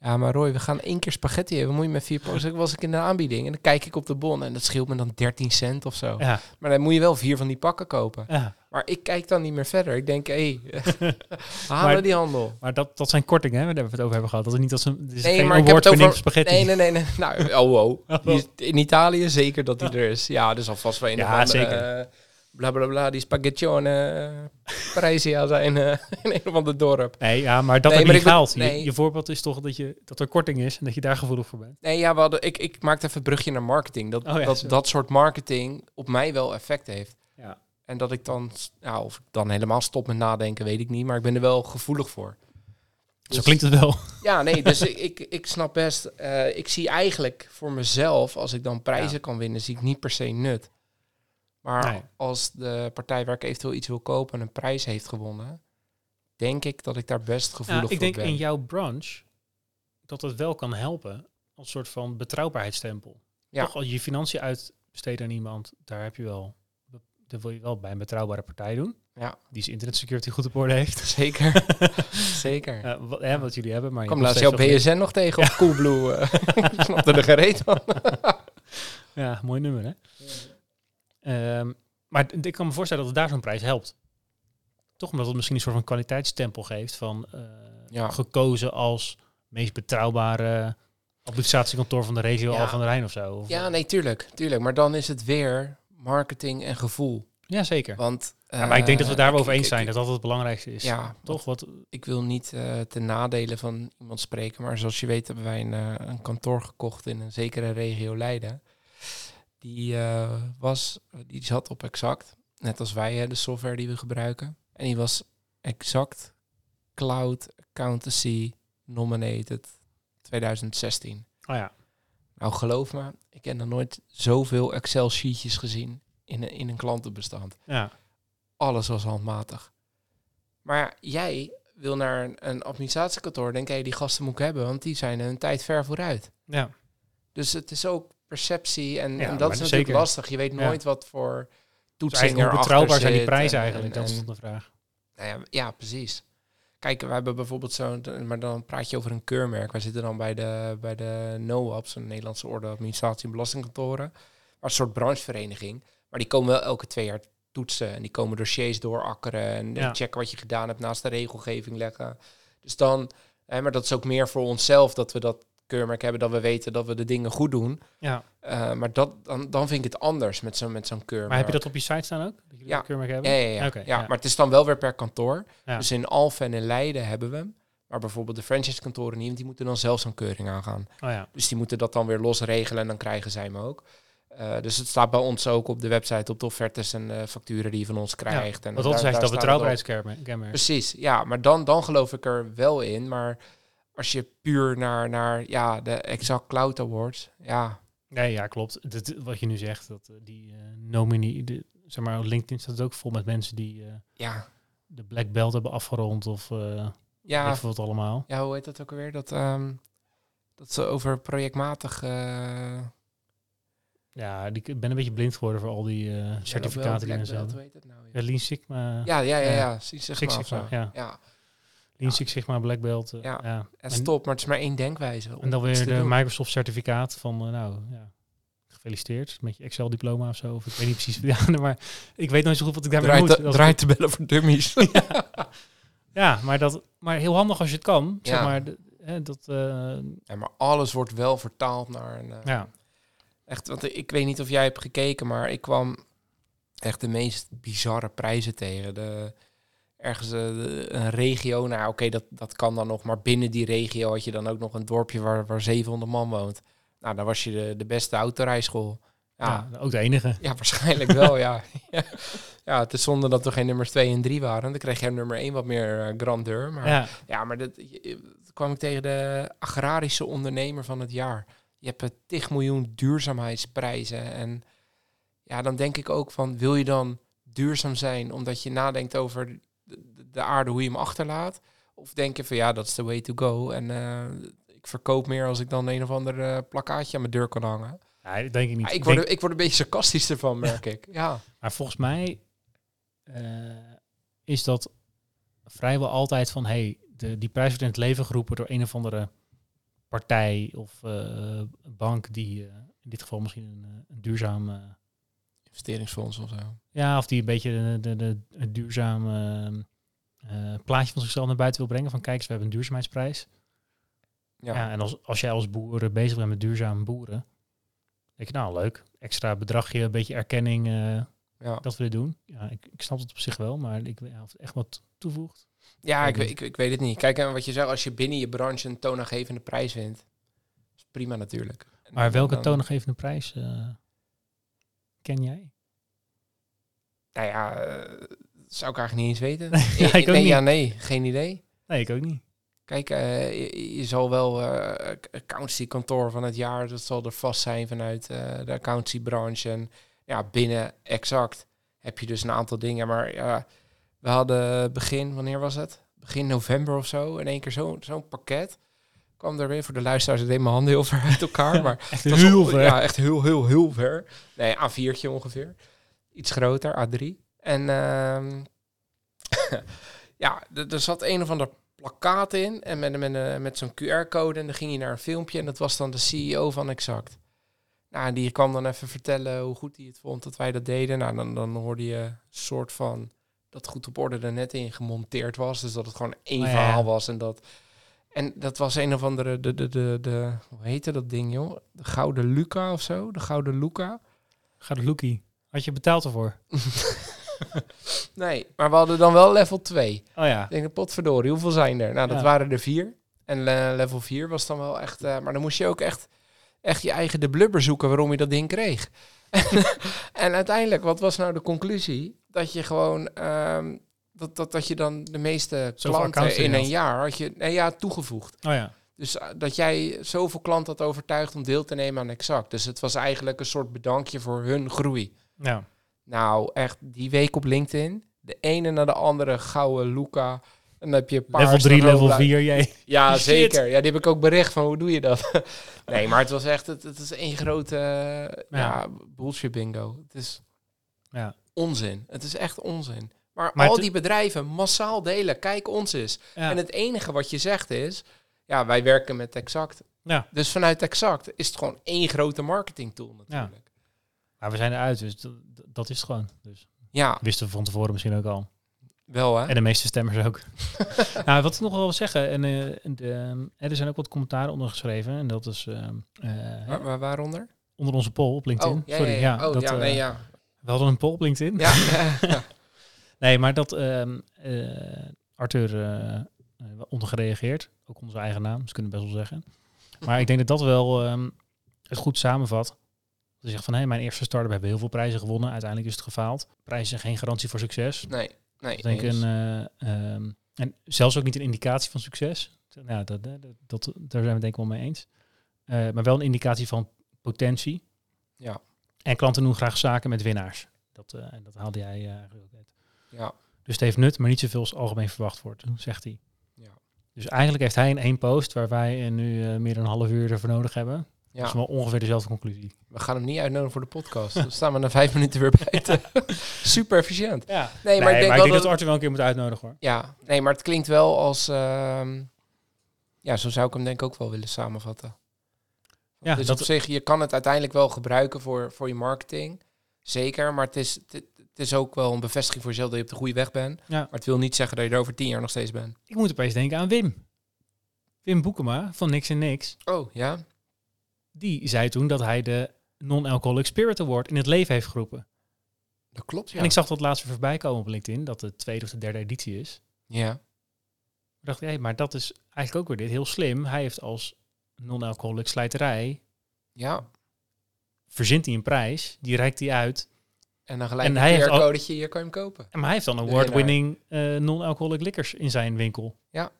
Speaker 1: ja maar Roy, we gaan één keer spaghetti hebben. Moet je met vier pakken? Dus ik was ik in de aanbieding. En dan kijk ik op de bon en dat scheelt me dan 13 cent of zo.
Speaker 2: Ja.
Speaker 1: Maar dan moet je wel vier van die pakken kopen.
Speaker 2: ja.
Speaker 1: Maar ik kijk dan niet meer verder. Ik denk, [LAUGHS]
Speaker 2: [LAUGHS]
Speaker 1: hé,
Speaker 2: Maar-
Speaker 1: halen die handel.
Speaker 2: Maar dat, dat zijn kortingen, hè, waar we het over hebben gehad. Dat is niet dat ze. Dit is
Speaker 1: Nee,
Speaker 2: geen
Speaker 1: maar ik heb
Speaker 2: award
Speaker 1: het
Speaker 2: winning
Speaker 1: over-
Speaker 2: spaghetti.
Speaker 1: Nee, nee, nee. nee. Nou, oh wow.
Speaker 2: [LAUGHS] Oh.
Speaker 1: Die is- in Italië zeker dat die er is. Ja, dus alvast wel een
Speaker 2: Ja,
Speaker 1: of andere,
Speaker 2: zeker.
Speaker 1: eh, Bla bla bla, die spaghettione Parijsia zijn eh, [LAUGHS] in een of ander dorp.
Speaker 2: Nee, ja, maar dat
Speaker 1: Nee,
Speaker 2: heb
Speaker 1: maar
Speaker 2: je
Speaker 1: ik bedo-
Speaker 2: gehaald. Je-
Speaker 1: nee.
Speaker 2: Je, voorbeeld is toch dat, je, dat er korting is en dat je daar gevoelig voor bent.
Speaker 1: Nee, ja, we hadden, ik, ik maakte even het brugje naar marketing. Dat,
Speaker 2: Oh ja,
Speaker 1: dat
Speaker 2: zo.
Speaker 1: dat soort marketing op mij wel effect heeft.
Speaker 2: Ja.
Speaker 1: En dat ik dan, s- nou, of ik dan helemaal stop met nadenken, weet ik niet. Maar ik ben er wel gevoelig voor.
Speaker 2: Zo
Speaker 1: Dus-
Speaker 2: klinkt het wel.
Speaker 1: Ja, nee, dus [LAUGHS] ik, ik, ik snap best. eh, ik zie eigenlijk voor mezelf, als ik dan prijzen
Speaker 2: Ja.
Speaker 1: kan winnen, zie ik niet per se nut. Maar
Speaker 2: Nee.
Speaker 1: als de partij waar ik eventueel iets wil kopen een prijs heeft gewonnen, denk ik dat ik daar best gevoelig
Speaker 2: Ja, ik
Speaker 1: voor
Speaker 2: denk
Speaker 1: ben.
Speaker 2: in jouw branche dat dat wel kan helpen als soort van betrouwbaarheidsstempel.
Speaker 1: Ja.
Speaker 2: Toch als je je financiën uitbesteedt aan iemand, daar heb je wel, dat wil je wel bij een betrouwbare partij doen.
Speaker 1: Ja.
Speaker 2: Die zijn internet security goed op orde heeft.
Speaker 1: [LAUGHS]
Speaker 2: [LAUGHS]
Speaker 1: Zeker, zeker.
Speaker 2: Eh, wat, hè, wat jullie hebben, maar je
Speaker 1: Kom
Speaker 2: hebt
Speaker 1: laatst
Speaker 2: nog
Speaker 1: jouw
Speaker 2: steeds
Speaker 1: BSN nog tegen op Coolblue. eh. [LAUGHS] Ik snapte er gereed van.
Speaker 2: [LAUGHS] wel meer- Ja, mooi nummer, hè? Ehm, maar d- ik kan me voorstellen dat het daar zo'n prijs helpt. Toch omdat het misschien een soort van kwaliteitsstempel geeft van eh,
Speaker 1: Ja.
Speaker 2: gekozen als meest betrouwbare administratiekantoor van de regio
Speaker 1: Ja.
Speaker 2: Al van der Rijn of zo. Of,
Speaker 1: Ja,
Speaker 2: eh,
Speaker 1: nee, tuurlijk, tuurlijk. Maar dan is het weer marketing en gevoel.
Speaker 2: Ja, zeker.
Speaker 1: Want,
Speaker 2: Ja, maar ik denk dat we
Speaker 1: eh,
Speaker 2: het daar wel
Speaker 1: ik-
Speaker 2: over eens
Speaker 1: ik-
Speaker 2: zijn,
Speaker 1: ik-
Speaker 2: dat dat het belangrijkste is.
Speaker 1: Ja,
Speaker 2: Toch? Wat,
Speaker 1: ik wil niet eh ten nadelen van iemand spreken, maar zoals je weet hebben wij een, eh, een kantoor gekocht in een zekere regio Leiden. Die, eh, was, die zat op exact, net als wij, hè, de software die we gebruiken. En die was exact Cloud Accountancy Nominated 2016.
Speaker 2: oh ja,
Speaker 1: Nou, geloof me, ik heb nog nooit zoveel Excel-sheetjes gezien in, een- in een klantenbestand
Speaker 2: ja.
Speaker 1: alles was handmatig. Maar ja, jij wil naar een, een administratiekantoor, denk hé, die gasten moet ik hebben, want die zijn hun tijd ver vooruit.
Speaker 2: ja.
Speaker 1: Dus het is ook perceptie en,
Speaker 2: Ja,
Speaker 1: en
Speaker 2: maar
Speaker 1: dat is natuurlijk
Speaker 2: zeker.
Speaker 1: lastig. Je weet
Speaker 2: Ja.
Speaker 1: nooit wat voor
Speaker 2: Dus
Speaker 1: toetsing
Speaker 2: eigenlijk,
Speaker 1: er
Speaker 2: hoe betrouwbaar zijn die prijzen eigenlijk? dat is toch de vraag.
Speaker 1: nou ja, ja, precies. Kijk, we hebben bijvoorbeeld zo'n, maar dan praat je over een keurmerk. Wij zitten dan bij de, bij de NOAPS, een Nederlandse Orde Administratie en Belastingkantoren. Maar een soort branchevereniging. Maar die komen wel elke twee jaar toetsen. En die komen dossiers doorakkeren en eh,
Speaker 2: Ja.
Speaker 1: checken wat je gedaan hebt naast de regelgeving leggen. Dus dan, hè, maar dat is ook meer voor onszelf dat we dat keurmerk hebben, dat we weten dat we de dingen goed doen.
Speaker 2: Ja.
Speaker 1: Eh, maar dat, dan, dan vind ik het anders met zo'n met zo'n keurmerk.
Speaker 2: Maar heb je dat op je site staan ook? Dat jullie
Speaker 1: Ja.
Speaker 2: een keurmerk hebben?
Speaker 1: Ja, ja, ja.
Speaker 2: Oké,
Speaker 1: ja,
Speaker 2: ja.
Speaker 1: maar het is dan wel weer per kantoor.
Speaker 2: Ja.
Speaker 1: Dus in Alphen en in Leiden hebben we hem. Maar bijvoorbeeld de franchise-kantoren niet, want die moeten dan zelf zo'n keuring aangaan.
Speaker 2: Oh ja.
Speaker 1: Dus die moeten dat dan weer los regelen en dan krijgen zij hem ook. Eh, dus het staat bij ons ook op de website, op de offertes en eh, facturen die je van ons krijgt. en
Speaker 2: Want dat is
Speaker 1: daar- daar
Speaker 2: eigenlijk dat
Speaker 1: staat het op.
Speaker 2: betrouwbaarheidskenmerk.
Speaker 1: Precies, ja, maar dan, dan geloof ik er wel in. Maar als je puur naar, naar ja, de Exact Cloud Awards, ja,
Speaker 2: Nee, ja, klopt. Dit, wat je nu zegt, dat eh, die eh nominee, de, zeg maar, LinkedIn staat ook vol met mensen die eh,
Speaker 1: ja,
Speaker 2: de black belt hebben afgerond of eh weet
Speaker 1: ja,
Speaker 2: ik veel wat allemaal.
Speaker 1: ja, hoe heet dat ook alweer? Dat, ehm, dat ze over projectmatig... eh,
Speaker 2: Ja, die, ik ben een beetje blind geworden voor al die eh, certificaten die
Speaker 1: Black
Speaker 2: mensen
Speaker 1: Belt,
Speaker 2: hebben.
Speaker 1: hoe heet het nou?
Speaker 2: Ja, Lean Sigma,
Speaker 1: Ja, ja, ja,
Speaker 2: Eh,
Speaker 1: ja. Six Sigma.
Speaker 2: Six
Speaker 1: of zo.
Speaker 2: Sigma, ja.
Speaker 1: ja.
Speaker 2: Lean Six Sigma, black belt. eh,
Speaker 1: Ja.
Speaker 2: ja.
Speaker 1: En stop, maar het is maar één denkwijze. om
Speaker 2: En dan
Speaker 1: iets
Speaker 2: weer
Speaker 1: te
Speaker 2: de
Speaker 1: doen.
Speaker 2: Microsoft certificaat van, eh, nou ja, gefeliciteerd met je Excel-diploma of zo. Of ik weet niet precies. [LAUGHS] Ja, maar ik weet nooit zo goed wat ik daarmee
Speaker 1: Draait,
Speaker 2: moet.
Speaker 1: de,
Speaker 2: Dat-
Speaker 1: draait de bellen voor dummies.
Speaker 2: Ja, maar, dat, maar heel handig als je het kan. Zeg
Speaker 1: Ja.
Speaker 2: maar, de- hè, dat, eh,
Speaker 1: Ja, maar alles wordt wel vertaald naar een... eh,
Speaker 2: ja.
Speaker 1: Echt, want ik weet niet of jij hebt gekeken, maar ik kwam echt de meest bizarre prijzen tegen. De, ergens eh, de- een regio, nou oké, dat, dat kan dan nog. Maar binnen die regio had je dan ook nog een dorpje waar, waar 700 man woont. Nou, dan was je de, de beste autorijschool. Ja, ja.
Speaker 2: ja, ook de enige.
Speaker 1: waarschijnlijk wel, ja. [LAUGHS] Ja. ja. Het is zonde dat er geen nummers 2 en 3 waren. Dan kreeg je nummer 1 wat meer eh, grandeur. Maar
Speaker 2: Ja.
Speaker 1: ja, maar dat, je- je- dat kwam ik tegen de agrarische ondernemer van het jaar. Je hebt eh, tig miljoen duurzaamheidsprijzen. En ja, dan denk ik ook van, wil je dan duurzaam zijn omdat je nadenkt over de, de- de aarde, hoe je hem achterlaat? Of denk je van, ja, dat is the way to go. En eh, ik verkoop meer als ik dan een of ander eh, plakkaatje aan mijn deur kan hangen.
Speaker 2: ja, dat denk ik niet.
Speaker 1: Ja, ik,
Speaker 2: Ik
Speaker 1: word,
Speaker 2: denk-
Speaker 1: er- ik word een beetje sarcastisch [LAUGHS] ervan, merk ik. Ja,
Speaker 2: Maar volgens mij eh, is dat vrijwel altijd van... Hey, de, die prijs wordt in het leven geroepen door een of andere partij of eh, bank... die eh, in dit geval misschien een, eh, een duurzaam... eh,
Speaker 1: investeringsfonds of zo.
Speaker 2: ja, of die een beetje de, de, de, een duurzaam eh, eh, plaatje van zichzelf naar buiten wil brengen. Van kijk eens, we hebben een duurzaamheidsprijs.
Speaker 1: Ja,
Speaker 2: Ja, en als, als jij als boer bezig bent met duurzaam boeren... denk je, nou leuk, extra bedragje, een beetje erkenning... eh,
Speaker 1: ja.
Speaker 2: dat we dit doen. Ja, ik, ik snap het op zich wel, maar ik weet ja, of het echt wat toevoegt.
Speaker 1: Ja,
Speaker 2: Weet
Speaker 1: ik, we-
Speaker 2: niet.
Speaker 1: ik, ik weet het niet. Kijk, en wat je zegt, als je binnen je branche een toonaangevende prijs wint, is prima natuurlijk. En
Speaker 2: Maar
Speaker 1: dan-
Speaker 2: welke
Speaker 1: dan-
Speaker 2: toonaangevende prijs eh, ken jij?
Speaker 1: Nou ja, eh, dat zou ik eigenlijk niet eens weten.
Speaker 2: [LAUGHS]
Speaker 1: Eh,
Speaker 2: Ja, ik ook
Speaker 1: nee,
Speaker 2: niet.
Speaker 1: ja, nee, geen idee.
Speaker 2: Nee, ik ook niet.
Speaker 1: Kijk, eh, je, je zal wel eh accountancy-kantoor van het jaar, dat zal er vast zijn vanuit eh, de accountancy-branche. En ja, binnen exact heb je dus een aantal dingen. Maar ja, we hadden begin, wanneer was het? Begin november of zo, in één keer zo- zo'n pakket. Kwam er weer voor de luisteraars, ik deed mijn handen heel ver uit elkaar. Maar
Speaker 2: Echt
Speaker 1: Dat is
Speaker 2: heel
Speaker 1: on-
Speaker 2: veel.
Speaker 1: Ja, echt heel, heel, heel ver. Nee, A4'tje ongeveer. Iets groter, A3. En ehm, ja, d- er zat een of ander plakkaat in. En met, met, eh, met zo'n QR-code. En dan ging je naar een filmpje. En dat was dan de CEO van Exact. Nou, en die kwam dan even vertellen hoe goed hij het vond dat wij dat deden. Nou, dan, dan hoorde je een soort van dat goed op orde er net in gemonteerd was. Dus dat het gewoon één
Speaker 2: Oh ja.
Speaker 1: verhaal was. En dat, en dat was een of andere, de, de, de, de, hoe heette dat ding joh? De Gouden Luca of zo? De Gouden Luca?
Speaker 2: Gaat het Loekie? Had je betaald ervoor?
Speaker 1: Nee, maar we hadden dan wel level 2.
Speaker 2: Oh ja.
Speaker 1: Ik denk, potverdorie, hoeveel zijn er? Nou, dat
Speaker 2: Ja.
Speaker 1: waren er vier. En eh, level 4 was dan wel echt... eh, maar dan moest je ook echt, echt je eigen de blubber zoeken waarom je dat ding kreeg. [LAUGHS] en uiteindelijk, wat was nou de conclusie? Dat je gewoon... ehm, dat, dat, dat je dan de meeste
Speaker 2: Zoveel accounts
Speaker 1: klanten
Speaker 2: erin
Speaker 1: in een
Speaker 2: had.
Speaker 1: jaar had je... Nee, ja, toegevoegd.
Speaker 2: Oh ja.
Speaker 1: Dus eh, dat jij zoveel klanten had overtuigd om deel te nemen aan Exact. Dus het was eigenlijk een soort bedankje voor hun groei.
Speaker 2: Nou,
Speaker 1: Nou, echt die week op LinkedIn. De ene naar de andere, gouden Luca. En dan heb je paars.
Speaker 2: level 3,
Speaker 1: dan ook
Speaker 2: level
Speaker 1: blauw.
Speaker 2: 4, jij.
Speaker 1: Ja,
Speaker 2: Shit.
Speaker 1: zeker. Ja, die heb ik ook bericht van hoe doe je dat? [LAUGHS] nee, maar het was echt, het, het is één grote eh, ja. bullshit bingo. Het is
Speaker 2: Ja.
Speaker 1: onzin. Het is echt onzin. Maar,
Speaker 2: Maar
Speaker 1: al
Speaker 2: het-
Speaker 1: die bedrijven massaal delen, kijk ons eens.
Speaker 2: Ja.
Speaker 1: En het enige wat je zegt is, ja, wij werken met Exact.
Speaker 2: Ja.
Speaker 1: Dus vanuit Exact is het gewoon één grote marketing tool natuurlijk.
Speaker 2: Maar we zijn eruit, dus dat, dat is het gewoon. Dus
Speaker 1: Ja,
Speaker 2: wisten we van tevoren misschien ook al.
Speaker 1: wel hè?
Speaker 2: En de meeste
Speaker 1: [LAUGHS]
Speaker 2: stemmers ook. nou, wat ik nog wel wil zeggen, en, eh, en de, eh, er zijn ook wat commentaren onder geschreven. En dat is ehm, eh,
Speaker 1: Waar- waar- waaronder?
Speaker 2: onder onze poll op LinkedIn.
Speaker 1: Oh, ja,
Speaker 2: Sorry,
Speaker 1: ja,
Speaker 2: ja.
Speaker 1: ja. Oh,
Speaker 2: dat,
Speaker 1: ja,
Speaker 2: eh,
Speaker 1: nee, ja.
Speaker 2: [LAUGHS] We hadden een poll op LinkedIn.
Speaker 1: Ja, ja, ja.
Speaker 2: Nee, maar dat ehm eh, Arthur eh, eh, wel ondergereageerd. Ook onze eigen naam, dus kunnen we best wel zeggen. Maar ik denk dat dat wel ehm, het goed samenvat. Dat je zegt van, hé, mijn eerste start-up hebben heel veel prijzen gewonnen. Uiteindelijk is het gefaald. Prijzen zijn geen garantie voor succes.
Speaker 1: Nee, nee.
Speaker 2: Ik denk
Speaker 1: eens.
Speaker 2: een, eh, ehm, en zelfs ook niet een indicatie van succes. Nou, dat, dat, dat, daar zijn we het denk ik wel mee eens. Eh, maar wel een indicatie van potentie.
Speaker 1: Ja.
Speaker 2: En klanten doen graag zaken met winnaars. Dat, eh, en dat haalde jij eh, eigenlijk ook net.
Speaker 1: ja,
Speaker 2: Dus het heeft nut, maar niet zoveel als algemeen verwacht wordt, zegt hij.
Speaker 1: Ja.
Speaker 2: Dus eigenlijk heeft hij in één post, waar wij eh, nu eh, meer dan een half uur ervoor nodig hebben. Dat is
Speaker 1: ja.
Speaker 2: wel ongeveer dezelfde conclusie.
Speaker 1: We gaan hem niet uitnodigen voor de podcast. Dan staan we na vijf minuten weer buiten.
Speaker 2: [LAUGHS]
Speaker 1: Super efficiënt.
Speaker 2: Ja. Nee,
Speaker 1: Nee, maar ik denk wel
Speaker 2: dat,
Speaker 1: dat...
Speaker 2: Arthur wel een keer moet uitnodigen hoor.
Speaker 1: Ja, nee, maar het klinkt wel als... ehm, ja, zo zou ik hem denk ik ook wel willen samenvatten.
Speaker 2: Ja,
Speaker 1: dus
Speaker 2: dat-
Speaker 1: op zich, je kan het uiteindelijk wel gebruiken voor, voor je marketing. Zeker, maar het is, het, het is ook wel een bevestiging voor jezelf dat je op de goede weg bent.
Speaker 2: Ja.
Speaker 1: Maar het wil niet zeggen dat je er over tien jaar nog steeds bent.
Speaker 2: Ik moet opeens denken aan Wim. Wim Boekema van Niks en Niks.
Speaker 1: Oh, ja?
Speaker 2: Die zei toen dat hij de Non-Alcoholic Spirit Award in het leven heeft geroepen.
Speaker 1: Dat klopt, ja.
Speaker 2: En ik zag dat laatst weer voorbij komen op LinkedIn, dat de tweede of de derde editie is.
Speaker 1: Ja,
Speaker 2: Ik dacht, hé, maar dat is eigenlijk ook weer dit. Heel slim. Hij heeft als non-alcoholic slijterij,
Speaker 1: ja.
Speaker 2: verzint hij een prijs, die reikt hij uit.
Speaker 1: En dan gelijk
Speaker 2: En
Speaker 1: een
Speaker 2: hij heeft al-
Speaker 1: QR-codetje, hier kan je hem kopen.
Speaker 2: Maar hij heeft dan
Speaker 1: winnaar.
Speaker 2: award-winning eh, non-alcoholic liquors in zijn winkel.
Speaker 1: Ja.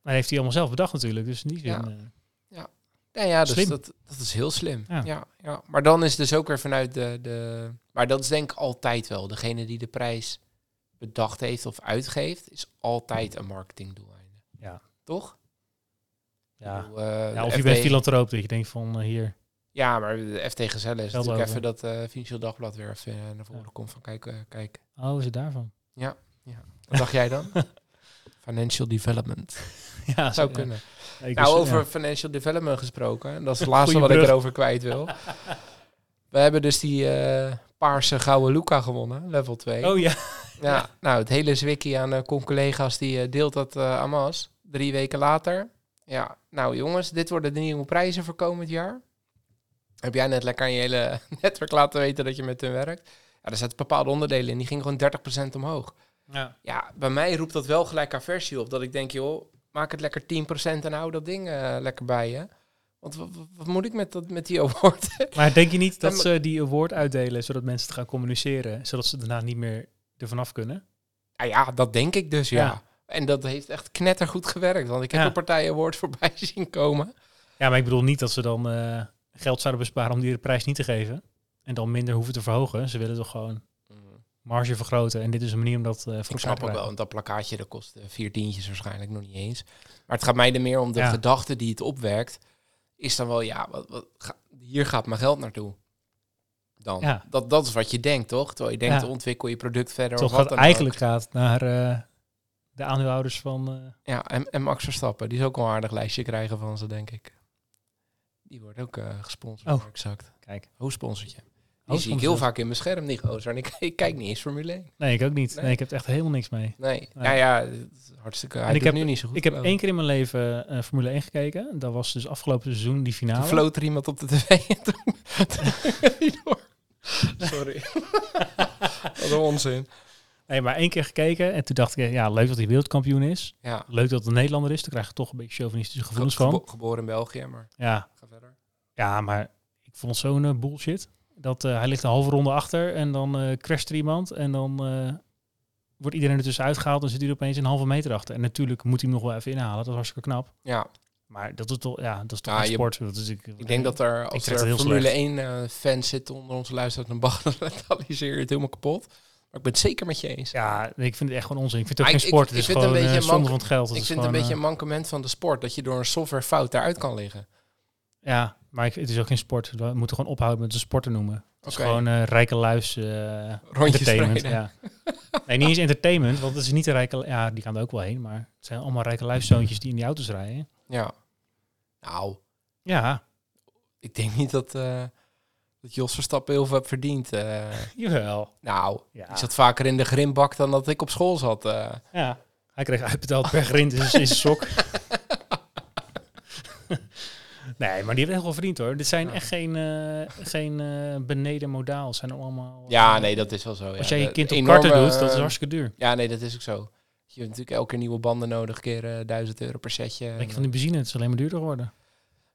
Speaker 2: Maar heeft hij allemaal zelf bedacht natuurlijk, dus niet
Speaker 1: Ja.
Speaker 2: zin. eh,
Speaker 1: Ja, ja dus
Speaker 2: Slim.
Speaker 1: Dat, dat is heel slim.
Speaker 2: Ja.
Speaker 1: Ja. Ja, Maar dan is dus ook weer vanuit de, de... Maar dat is denk ik altijd wel. Degene die de prijs bedacht heeft of uitgeeft, is altijd een marketingdoeleinde.
Speaker 2: Ja.
Speaker 1: Toch? Ik
Speaker 2: ja.
Speaker 1: bedoel, eh,
Speaker 2: Ja,
Speaker 1: de
Speaker 2: of je
Speaker 1: FD
Speaker 2: bent filantroop, dat je denkt van eh, hier,
Speaker 1: Ja, maar de FT Gezellen is
Speaker 2: Geld
Speaker 1: natuurlijk
Speaker 2: over.
Speaker 1: even dat eh, Financieel Dagblad weer even eh, naar voren
Speaker 2: Ja.
Speaker 1: komt van kijk, eh, kijk.
Speaker 2: oh, is het daarvan? [LAUGHS]
Speaker 1: Wat dacht jij dan? Financial Development.
Speaker 2: ja,
Speaker 1: Zou
Speaker 2: zo-
Speaker 1: kunnen.
Speaker 2: ja, ik
Speaker 1: Nou,
Speaker 2: was-
Speaker 1: over
Speaker 2: ja.
Speaker 1: financial development gesproken. En dat is het laatste
Speaker 2: Goeie
Speaker 1: wat ik
Speaker 2: brug.
Speaker 1: erover kwijt wil. We hebben dus die eh, paarse gouden Luca gewonnen, level 2.
Speaker 2: Oh ja,
Speaker 1: ja, Nou, het hele zwikkie aan eh con-collega's die eh, deelt dat eh aan Mas. Drie weken later. Ja, nou jongens, dit worden de nieuwe prijzen voor komend jaar. Heb jij net lekker aan je hele [LAUGHS] netwerk laten weten dat je met hun werkt. Ja, er zaten bepaalde onderdelen in, die gingen gewoon 30% omhoog.
Speaker 2: ja.
Speaker 1: Ja, bij mij roept dat wel gelijk aversie op. Dat ik denk, joh, maak het lekker 10% en hou dat ding eh, lekker bij je. Want wa- wa- wat, moet ik met, dat, met die award? [LAUGHS]
Speaker 2: [LAUGHS] Maar denk je niet
Speaker 1: Ja,
Speaker 2: dat ze die award uitdelen, zodat mensen het gaan communiceren, zodat ze daarna niet meer ervan af kunnen?
Speaker 1: nou ja, dat denk ik dus, ja.
Speaker 2: Ja.
Speaker 1: En dat heeft echt knettergoed gewerkt. Want ik heb
Speaker 2: Ja.
Speaker 1: een partij award voorbij [LAUGHS] zien komen.
Speaker 2: Ja, maar ik bedoel niet dat ze dan eh, geld zouden besparen om die de prijs niet te geven. En dan minder hoeven te verhogen. Ze willen toch gewoon marge vergroten. En dit is een manier om dat Mm-hmm. eh voor
Speaker 1: Ik snap
Speaker 2: elkaar te
Speaker 1: ook wel, want
Speaker 2: krijgen.
Speaker 1: dat plakkaatje dat kost eh, vier tientjes waarschijnlijk nog niet eens. Maar het gaat mij er meer om de
Speaker 2: Ja.
Speaker 1: gedachte die het opwerkt. Is dan wel, ja, wat, wat, ga- hier gaat mijn geld naartoe. Dan.
Speaker 2: Ja.
Speaker 1: Dat, dat is wat je denkt, toch? Terwijl je denkt,
Speaker 2: Ja.
Speaker 1: ontwikkel je product verder.
Speaker 2: Toch
Speaker 1: of wat
Speaker 2: gaat
Speaker 1: dan ook.
Speaker 2: eigenlijk gaat naar eh, de aandeelhouders van... eh,
Speaker 1: Ja, en, en Max Verstappen, die is ook wel een aardig lijstje krijgen van ze, denk ik. Die wordt ook eh, gesponsord,
Speaker 2: Oh.
Speaker 1: oh. exact.
Speaker 2: kijk.
Speaker 1: Hoofdsponsortje. Die zie ik
Speaker 2: hoofdsponsor.
Speaker 1: heel vaak in mijn scherm, die gozer. En [LAUGHS] ik, ik kijk niet eens Formule 1.
Speaker 2: Nee, ik ook niet. Nee,
Speaker 1: Nee.
Speaker 2: ik heb er echt helemaal niks mee.
Speaker 1: Nee,
Speaker 2: Nee.
Speaker 1: ja, ja, het is hartstikke... Hij
Speaker 2: ik
Speaker 1: doet
Speaker 2: heb-
Speaker 1: nu niet zo goed. Oh.
Speaker 2: Ik heb
Speaker 1: geloof
Speaker 2: één keer in mijn leven eh, Formule 1 gekeken. Dat was dus afgelopen seizoen die
Speaker 1: Toen
Speaker 2: finale.
Speaker 1: floot er iemand op de tv en toen... [LAUGHS] toen- door.
Speaker 2: [LAUGHS]
Speaker 1: Sorry. Wat een onzin.
Speaker 2: Nee, maar één keer gekeken. En toen dacht ik, ja, leuk dat hij wereldkampioen is.
Speaker 1: Ja,
Speaker 2: Leuk dat het een Nederlander is. Daar krijg je toch een beetje chauvinistische gevoelens
Speaker 1: gebo-
Speaker 2: van.
Speaker 1: geboren in België, maar
Speaker 2: Ja,
Speaker 1: ga verder.
Speaker 2: Ja, maar ik vond het zo'n eh, bullshit. Dat eh, hij ligt een halve ronde achter en dan eh crasht er iemand. En dan eh, wordt iedereen ertussen uitgehaald en zit hij er opeens een halve meter achter. En natuurlijk moet hij hem nog wel even inhalen. Dat was hartstikke knap.
Speaker 1: Ja,
Speaker 2: Maar dat is toch, ja, dat is toch
Speaker 1: Ja,
Speaker 2: een
Speaker 1: je-
Speaker 2: sport. Dat is,
Speaker 1: Ik denk dat er, als
Speaker 2: trek het
Speaker 1: er
Speaker 2: heel
Speaker 1: Formule
Speaker 2: slecht.
Speaker 1: 1-fans zitten onder onze luisteraars, [LAUGHS] dan bagatelliseer je het helemaal kapot. Maar ik ben het zeker met je eens.
Speaker 2: Ja, nee, ik vind het echt gewoon onzin. Ik vind het ook
Speaker 1: Maar
Speaker 2: geen
Speaker 1: ik-
Speaker 2: sport.
Speaker 1: ik-
Speaker 2: het
Speaker 1: ik
Speaker 2: is
Speaker 1: vind het
Speaker 2: gewoon
Speaker 1: een
Speaker 2: een
Speaker 1: beetje
Speaker 2: zonde
Speaker 1: mank-
Speaker 2: van het geld. Het
Speaker 1: ik
Speaker 2: is
Speaker 1: vind het een
Speaker 2: gewoon, eh,
Speaker 1: beetje een mankement van de sport, dat je door een softwarefout daaruit kan liggen.
Speaker 2: eh, ja, maar ik- het is ook geen sport. We moeten gewoon ophouden met de sport te noemen. Het
Speaker 1: Oké.
Speaker 2: is gewoon eh, rijke luis eh,
Speaker 1: Rondjes
Speaker 2: entertainment.
Speaker 1: rijden.
Speaker 2: Ja. Nee, niet eens entertainment, want het is niet de rijke... Ja, die gaan er ook wel heen, maar het zijn allemaal rijke luiszoontjes die in die auto's rijden.
Speaker 1: Ja. Nou,
Speaker 2: Ja,
Speaker 1: ik denk niet dat, eh, dat Jos Verstappen heel veel heeft verdiend. eh.
Speaker 2: jawel.
Speaker 1: nou,
Speaker 2: Ja.
Speaker 1: ik zat vaker in de grimbak dan dat ik op school zat. eh.
Speaker 2: ja. Hij kreeg uitbetaald per grind in zijn in zijn sok. [LAUGHS] nee, maar die heeft echt wel verdiend hoor. Dit zijn
Speaker 1: Ja.
Speaker 2: echt geen, eh, geen eh beneden modaal. zijn allemaal... eh,
Speaker 1: Ja, nee, dat is wel zo. ja.
Speaker 2: Als jij je
Speaker 1: Dat-
Speaker 2: kind op
Speaker 1: enorme,
Speaker 2: karten doet, dat is
Speaker 1: eh,
Speaker 2: hartstikke duur.
Speaker 1: Ja, nee, dat is ook zo. Je hebt natuurlijk elke keer nieuwe banden nodig, keer eh, 1000 euro per setje.
Speaker 2: Denk
Speaker 1: En,
Speaker 2: je van die benzine, het is alleen maar duurder geworden.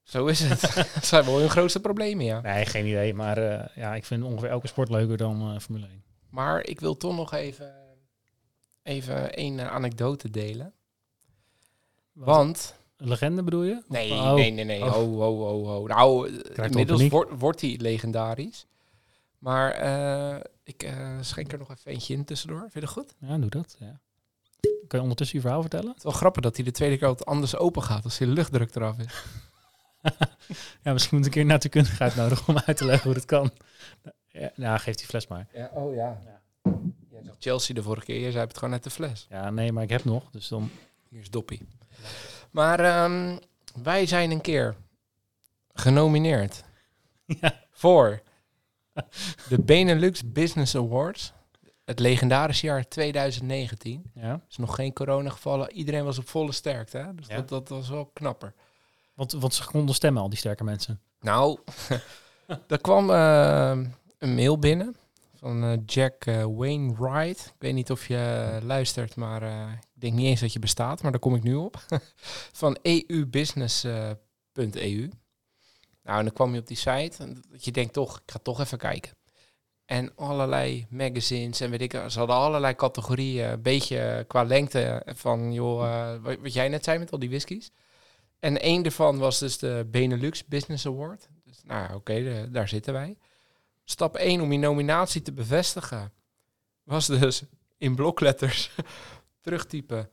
Speaker 1: Zo is [LAUGHS] het. dat zijn wel hun grootste problemen, ja.
Speaker 2: Nee, geen idee. Maar eh, ja, ik vind ongeveer elke sport leuker dan eh, Formule 1.
Speaker 1: Maar ik wil toch nog even, even één eh, anekdote delen. Want...
Speaker 2: Een legende bedoel je?
Speaker 1: Nee,
Speaker 2: Oh.
Speaker 1: nee, nee, nee.
Speaker 2: Oh.
Speaker 1: Ho, ho, ho, ho. Nou, eh,
Speaker 2: wel
Speaker 1: inmiddels
Speaker 2: paniek.
Speaker 1: wordt, wordt hij legendarisch. Maar eh, ik eh, schenk er nog even eentje in tussendoor. Vind je dat goed?
Speaker 2: Ja, doe dat. Ja. Kan je ondertussen je verhaal vertellen?
Speaker 1: Het is wel grappig dat hij de tweede keer wat anders open gaat als de luchtdruk eraf is.
Speaker 2: Ja, misschien moet ik een keer natuurkundige uitnodigen om uit te leggen hoe dat kan. Ja, nou, geef die fles maar.
Speaker 1: Ja, oh ja.
Speaker 2: Ja.
Speaker 1: Jij zag Chelsea de vorige keer. Jij zei het gewoon uit de fles.
Speaker 2: Ja, nee, maar ik heb nog. Dus dan...
Speaker 1: Hier is Doppie. Maar ehm, wij zijn een keer genomineerd
Speaker 2: [LAUGHS] Ja.
Speaker 1: voor de Benelux Business Awards. Het legendarische jaar 2019.
Speaker 2: ja.
Speaker 1: Er is nog geen coronagevallen. Iedereen was op volle sterkte. Hè? Dus
Speaker 2: Ja.
Speaker 1: dat, dat was wel knapper.
Speaker 2: Want, want ze konden stemmen, al die sterke mensen.
Speaker 1: Nou, [LAUGHS] er kwam eh, een mail binnen van eh, Jack eh, Wainwright. Ik weet niet of je luistert, maar eh, ik denk niet eens dat je bestaat, maar daar kom ik nu op. [LAUGHS] van E eh, eubusiness.eu. E nou, en dan kwam je op die site en dat je denkt toch, ik ga toch even kijken. En allerlei magazines en weet ik, ze hadden allerlei categorieën, een beetje qua lengte van, joh, eh, wat, wat jij net zei met al die whiskies. En één daarvan was dus de Benelux Business Award. Dus nou ja, oké, de- daar zitten wij. Stap 1 om je nominatie te bevestigen was dus in blokletters [LAUGHS] terugtypen.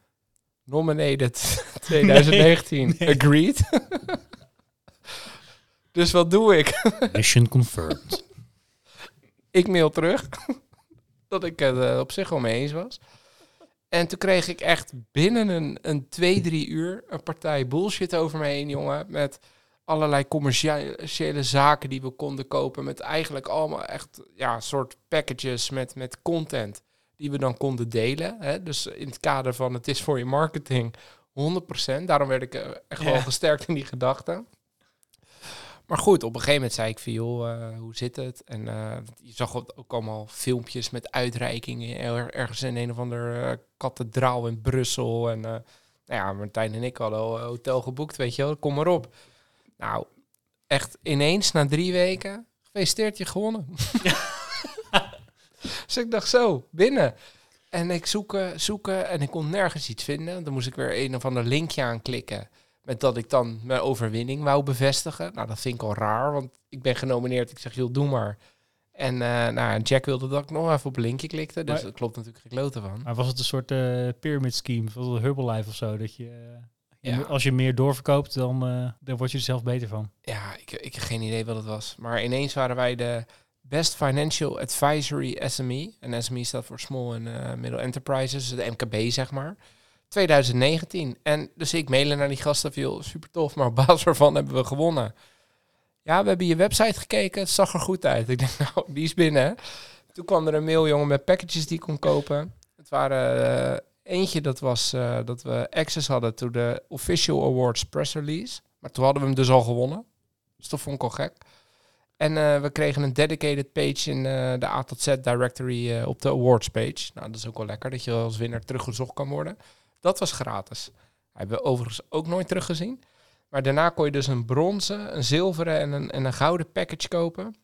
Speaker 1: Nominated 2019
Speaker 2: Nee, nee.
Speaker 1: agreed. [LAUGHS] dus wat doe ik?
Speaker 2: Mission confirmed.
Speaker 1: ik mail terug [LAUGHS] dat ik het eh, op zich wel mee eens was. En toen kreeg ik echt binnen een, een twee, drie uur een partij bullshit over me heen, jongen. Met allerlei commerciële zaken die we konden kopen. Met eigenlijk allemaal echt ja, soort packages met, met content die we dan konden delen. Hè? Dus in het kader van het is voor je marketing 100%. Daarom werd ik eh, echt wel
Speaker 2: Ja.
Speaker 1: gesterkt in die gedachte. Maar goed, op een gegeven moment zei ik van joh, eh, hoe zit het? En eh, je zag ook ook allemaal filmpjes met uitreikingen er- ergens in een of ander eh, kathedraal in Brussel. En eh, nou ja, Martijn en ik hadden al een hotel geboekt, weet je wel, kom maar op. Nou, echt ineens na drie weken, gefeliciteerd je gewonnen. dus ik dacht zo, binnen. En ik zoeken, zoeken eh, en ik kon nergens iets vinden. Dan moest ik weer een of ander linkje aanklikken. Met dat ik dan mijn overwinning wou bevestigen. Nou, dat vind ik al raar, want ik ben genomineerd. Ik zeg, joh, doe maar. En eh, nou, Jack wilde dat ik nog even op een linkje klikte. Dus
Speaker 2: Maar-
Speaker 1: dat klopt natuurlijk geen klote van.
Speaker 2: [LAUGHS] Maar was het een soort eh pyramid scheme, van Herbalife of zo? Dat je, eh, je
Speaker 1: Ja.
Speaker 2: moet- als je meer doorverkoopt, dan, eh, dan word je er zelf beter [LAUGHS] van.
Speaker 1: Ja, ik, ik heb geen idee wat het was. Maar ineens waren wij de Best Financial Advisory SME. En SME staat voor Small and eh, Middle Enterprises, dus de MKB zeg maar. 2019. En dus ik mailen naar die gasten van, joh, super tof, maar op basis waarvan hebben we gewonnen. Ja, we hebben je website gekeken, het zag er goed uit. Ik denk, [LAUGHS] nou, die is binnen. Toen kwam er een mail, jongen, met packages die ik kon kopen. Het waren eh, eentje, dat was eh, dat we access hadden to de Official Awards press release. Maar toen hadden we hem dus al gewonnen. Dus dat vond ik al gek. En eh, we kregen een dedicated page in eh, de A tot Z directory eh, op de awards page. Nou, dat is ook wel lekker dat je als winnaar teruggezocht kan worden. Dat was gratis. Hebben we overigens ook nooit teruggezien. Maar daarna kon je dus een bronzen, een zilveren en een, en een gouden package kopen.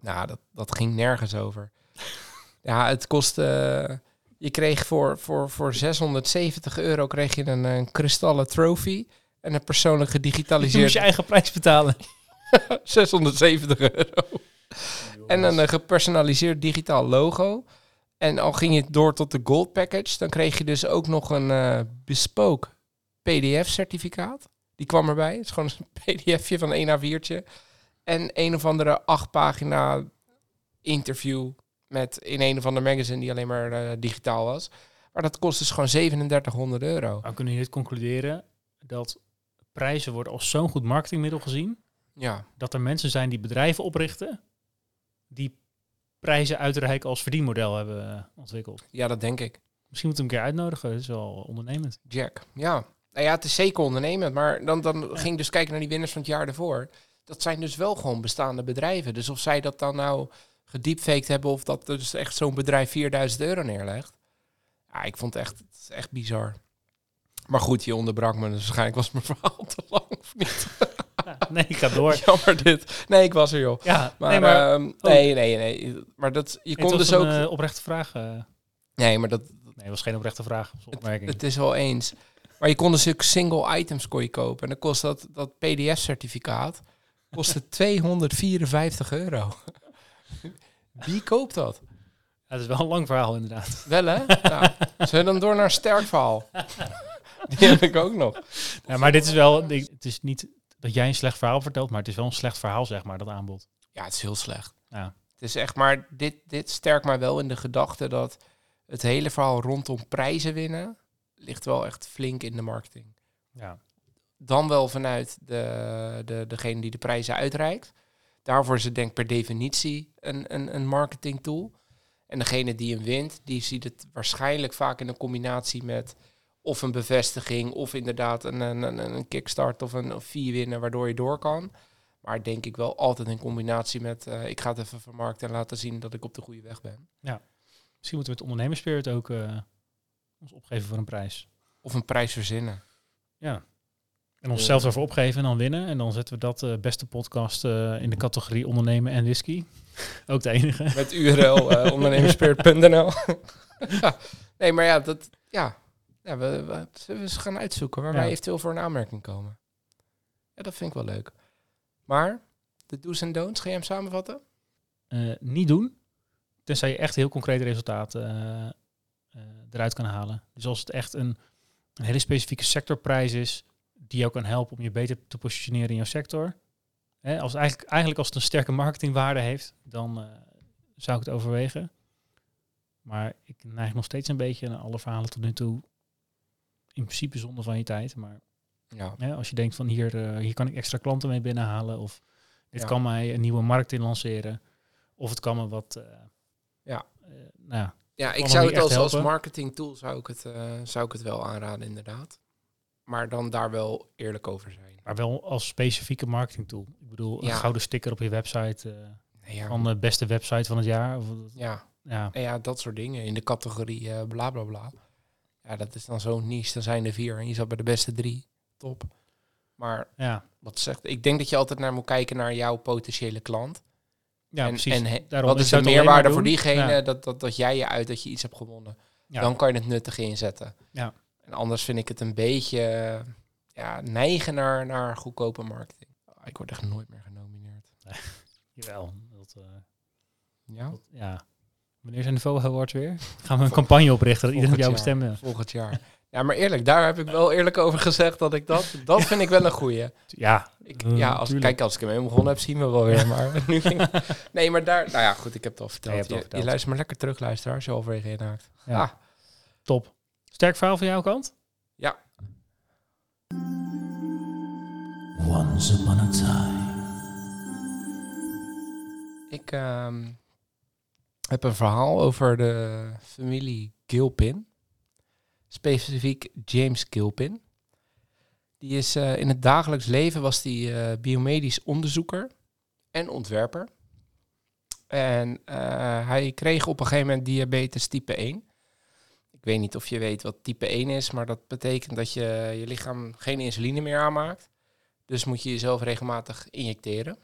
Speaker 1: Nou, dat, dat ging nergens over. [LAUGHS] ja, het kostte... je kreeg voor, voor, voor 670 euro kreeg je een, een kristallen trophy... en een persoonlijk
Speaker 2: [LAUGHS] Je moest
Speaker 1: gedigitaliseerd
Speaker 2: je eigen prijs betalen.
Speaker 1: 670 euro. En een eh, gepersonaliseerd digitaal logo. En al ging je door tot de Gold Package, dan kreeg je dus ook nog een eh, bespoke PDF-certificaat. Die kwam erbij. Het is gewoon een [LAUGHS] PDFje van een A4'tje. En een of andere acht pagina interview met in een of ander magazine die alleen maar eh, digitaal was. Maar dat kost dus gewoon 3700 euro.
Speaker 2: Nou kunnen we hieruit concluderen dat prijzen worden als zo'n goed marketingmiddel gezien,
Speaker 1: Ja,
Speaker 2: dat er mensen zijn die bedrijven oprichten, die prijzen uitreiken als verdienmodel hebben eh, ontwikkeld.
Speaker 1: ja dat denk ik.
Speaker 2: Misschien moeten we hem een keer uitnodigen, dat is wel ondernemend.
Speaker 1: [LAUGHS] Jack. Ja. Nou ja, het is zeker ondernemend, maar dan, dan ging ik dus kijken naar die winnaars van het jaar ervoor. Dat zijn dus wel gewoon bestaande bedrijven. Dus of zij dat dan nou gediepfaked hebben of dat dus echt zo'n bedrijf 4000 euro neerlegt. Ja, ik vond het echt, het is echt bizar. Maar goed, je onderbrak me, dus waarschijnlijk was mijn verhaal te lang of niet.
Speaker 2: Ja, nee, ik ga door.
Speaker 1: Jammer dit. Nee, ik was er joh.
Speaker 2: Ja,
Speaker 1: Maar,
Speaker 2: nee, maar
Speaker 1: ehm, nee, nee, nee. Maar dat, je
Speaker 2: het
Speaker 1: kon
Speaker 2: was
Speaker 1: dus
Speaker 2: een
Speaker 1: ook...
Speaker 2: eh, oprechte vraag. eh.
Speaker 1: nee, maar dat,
Speaker 2: nee, het was geen oprechte vraag. was een opmerking.
Speaker 1: Het is wel eens. Maar je kon dus ook single items kon je kopen. En dan kost dat, dat PDF-certificaat kostte 254 euro. Wie koopt dat?
Speaker 2: Ja, het is wel een lang verhaal inderdaad. [LAUGHS]
Speaker 1: Wel hè? Nou, zullen we dan door naar een sterk verhaal? Die heb ik ook nog.
Speaker 2: Ja, maar dit is wel, ik- het is niet dat jij een slecht verhaal vertelt, maar het is wel een slecht verhaal zeg maar, dat aanbod.
Speaker 1: Ja, het is heel slecht.
Speaker 2: Ja.
Speaker 1: Het is echt maar, dit, dit sterkt mij wel in de gedachte dat het hele verhaal rondom prijzen winnen ligt wel echt flink in de marketing.
Speaker 2: Ja.
Speaker 1: dan wel vanuit de, de, degene die de prijzen uitreikt. Daarvoor is het denk ik per definitie een, een, een marketing tool. En degene die hem wint, die ziet het waarschijnlijk vaak in een combinatie met of een bevestiging, of inderdaad een, een, een, een kickstart of een of vier winnen waardoor je door kan. Maar denk ik wel altijd in combinatie met eh, ik ga het even vermarkten en laten zien dat ik op de goede weg ben.
Speaker 2: Misschien moeten we het ondernemerspirit ook eh, ons opgeven voor een prijs.
Speaker 1: Of een prijs verzinnen.
Speaker 2: En onszelf daarvoor opgeven en dan winnen. En dan zetten we dat eh, beste podcast eh, in de categorie ondernemen en whisky. [LAUGHS] ook de enige.
Speaker 1: Met URL eh
Speaker 2: [LAUGHS]
Speaker 1: ondernemersspirit.nl. nee, maar ja, dat, ja. ja we, we, zullen we eens gaan uitzoeken waar
Speaker 2: Ja.
Speaker 1: wij eventueel voor een aanmerking komen. Ja, dat vind ik wel leuk. Maar, de do's en don'ts, ga jij hem samenvatten?
Speaker 2: Eh, niet doen. Tenzij je echt heel concreet resultaat eh, eh, eruit kan halen. Dus als het echt een, een hele specifieke sectorprijs is, die jou kan helpen om je beter te positioneren in jouw sector. Hè, als het eigenlijk, eigenlijk als het een sterke marketingwaarde heeft, dan eh, zou ik het overwegen. Maar ik neig nog steeds een beetje naar alle verhalen tot nu toe. In principe zonde van je tijd. Maar
Speaker 1: Ja.
Speaker 2: Hè, als je denkt van hier, eh, hier kan ik extra klanten mee binnenhalen. Of dit
Speaker 1: Ja.
Speaker 2: kan mij een nieuwe markt in lanceren. Of het kan me wat. eh,
Speaker 1: Ja.
Speaker 2: eh, nou ja,
Speaker 1: Ja, ik
Speaker 2: Allemaal
Speaker 1: zou
Speaker 2: niet
Speaker 1: het
Speaker 2: echt
Speaker 1: als, als
Speaker 2: helpen.
Speaker 1: marketing tool zou ik, het, eh, zou ik het wel aanraden, inderdaad. Maar dan daar wel eerlijk over zijn.
Speaker 2: maar wel als specifieke marketing tool. Ik bedoel,
Speaker 1: Ja.
Speaker 2: een gouden sticker op je website. eh,
Speaker 1: Nee, ja,
Speaker 2: van de beste website van het jaar. Of,
Speaker 1: ja.
Speaker 2: ja,
Speaker 1: Nou ja, dat soort dingen in de categorie eh, bla bla bla. Ja, dat is dan zo'n niche. Dan zijn er vier en je zat bij de beste drie. Top. Maar
Speaker 2: ja,
Speaker 1: wat zegt, ik denk dat je altijd naar moet kijken naar jouw potentiële klant.
Speaker 2: ja
Speaker 1: en,
Speaker 2: precies.
Speaker 1: en he-
Speaker 2: Daarom,
Speaker 1: wat
Speaker 2: ik
Speaker 1: is de
Speaker 2: zou het alleen maar
Speaker 1: meerwaarde voor
Speaker 2: doen.
Speaker 1: diegene
Speaker 2: Ja.
Speaker 1: dat, dat, dat jij je uit dat je iets hebt gewonnen.
Speaker 2: Ja.
Speaker 1: Dan kan je het nuttig inzetten.
Speaker 2: Ja.
Speaker 1: En anders vind ik het een beetje eh, ja, neigen naar, naar goedkope marketing. Ah, Ik word echt nooit meer genomineerd.
Speaker 2: Jawel. Dat, eh,
Speaker 1: Ja?
Speaker 2: dat- ja. Wanneer zijn de Vogel Awards weer? Gaan we een campagne oprichten dat iedereen op jou
Speaker 1: Volgend jaar.
Speaker 2: bestemmen?
Speaker 1: Volgend jaar. Ja, maar eerlijk, daar heb ik wel eerlijk over gezegd dat ik dat... Dat vind ik wel een goeie.
Speaker 2: Ja.
Speaker 1: Ik,
Speaker 2: Eh,
Speaker 1: ja, als,
Speaker 2: tuurlijk.
Speaker 1: kijk, als ik hem helemaal begonnen heb, zien we wel weer. Maar [LAUGHS]
Speaker 2: [LAUGHS]
Speaker 1: nu ging- nee, maar daar... Nou ja, goed, ik heb het al verteld.
Speaker 2: Ja, je hebt het
Speaker 1: Je-
Speaker 2: al
Speaker 1: je,
Speaker 2: verteld.
Speaker 1: luistert maar lekker terug, luisteraar, zo halverwege inhaakt.
Speaker 2: Ja.
Speaker 1: Ah.
Speaker 2: Top. Sterk verhaal van jouw kant?
Speaker 1: Ja.
Speaker 2: Once upon a time.
Speaker 1: Ik ehm, heb een verhaal over de familie Gilpin. Specifiek James Gilpin. Die is eh, in het dagelijks leven was die eh, biomedisch onderzoeker en ontwerper. En eh, hij kreeg op een gegeven moment diabetes type 1. Ik weet niet of je weet wat type 1 is, maar dat betekent dat je je lichaam geen insuline meer aanmaakt. Dus moet je jezelf regelmatig injecteren.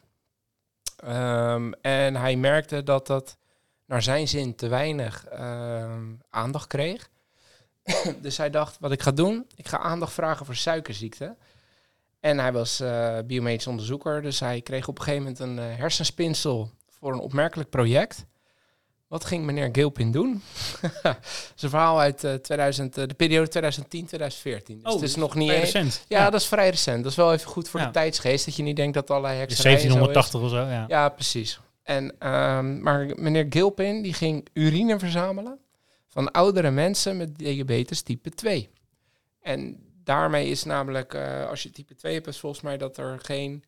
Speaker 1: Ehm, en hij merkte dat dat naar zijn zin te weinig ehm, aandacht kreeg. [COUGHS] dus hij dacht, wat ik ga doen, ik ga aandacht vragen voor suikerziekte. En hij was eh, biomedisch onderzoeker, dus hij kreeg op een gegeven moment een eh, hersenspinsel voor een opmerkelijk project. Wat ging meneer Gilpin doen? [LAUGHS] Zijn verhaal uit eh, 2000, eh, de periode 2010-2014. Dus het is nog niet eens.
Speaker 2: recent.
Speaker 1: Ja, dat is vrij recent. Dat is wel even goed voor
Speaker 2: Ja.
Speaker 1: de tijdsgeest. Dat je niet denkt dat allerlei
Speaker 2: Dus
Speaker 1: hekserij en zo is.
Speaker 2: 1780 of zo, ja.
Speaker 1: Ja, precies. En, ehm, maar meneer Gilpin die ging urine verzamelen van oudere mensen met diabetes type 2. En daarmee is namelijk, eh, als je type 2 hebt, is volgens mij dat er geen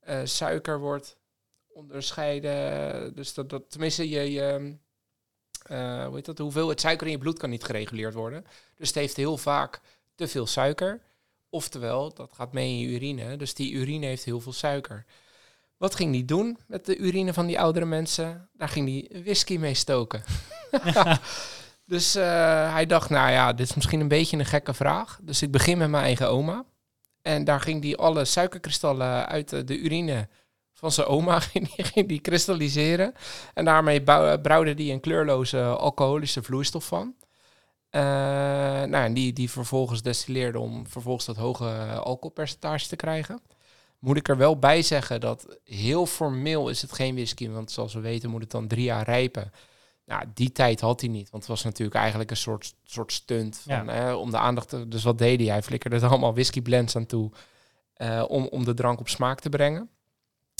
Speaker 1: eh, suiker wordt onderscheiden. Dus dat, dat tenminste, je, je, eh, hoe heet dat, de hoeveelheid suiker in je bloed kan niet gereguleerd worden. Dus het heeft heel vaak te veel suiker. Oftewel, dat gaat mee in je urine. Dus die urine heeft heel veel suiker. Wat ging die doen met de urine van die oudere mensen? Daar ging die whisky mee stoken. [LAUGHS] dus eh, hij dacht, nou ja, dit is misschien een beetje een gekke vraag. Dus ik begin met mijn eigen oma. En daar ging die alle suikerkristallen uit eh, de, de urine van zijn oma [LAUGHS] ging die, ging die kristalliseren. En daarmee bou- eh, brouwde die een kleurloze alcoholische vloeistof van. Eh, nou, en die, die vervolgens destilleerde om vervolgens dat hoge alcoholpercentage te krijgen. Moet ik er wel bij zeggen dat heel formeel is het geen whisky. Want zoals we weten moet het dan drie jaar rijpen. Nou, die tijd had hij niet. Want het was natuurlijk eigenlijk een soort, soort stunt van,
Speaker 2: Ja.
Speaker 1: hè, om de aandacht te... Dus wat deed hij? Hij flikkerde er allemaal whisky blends aan toe eh, om, om de drank op smaak te brengen.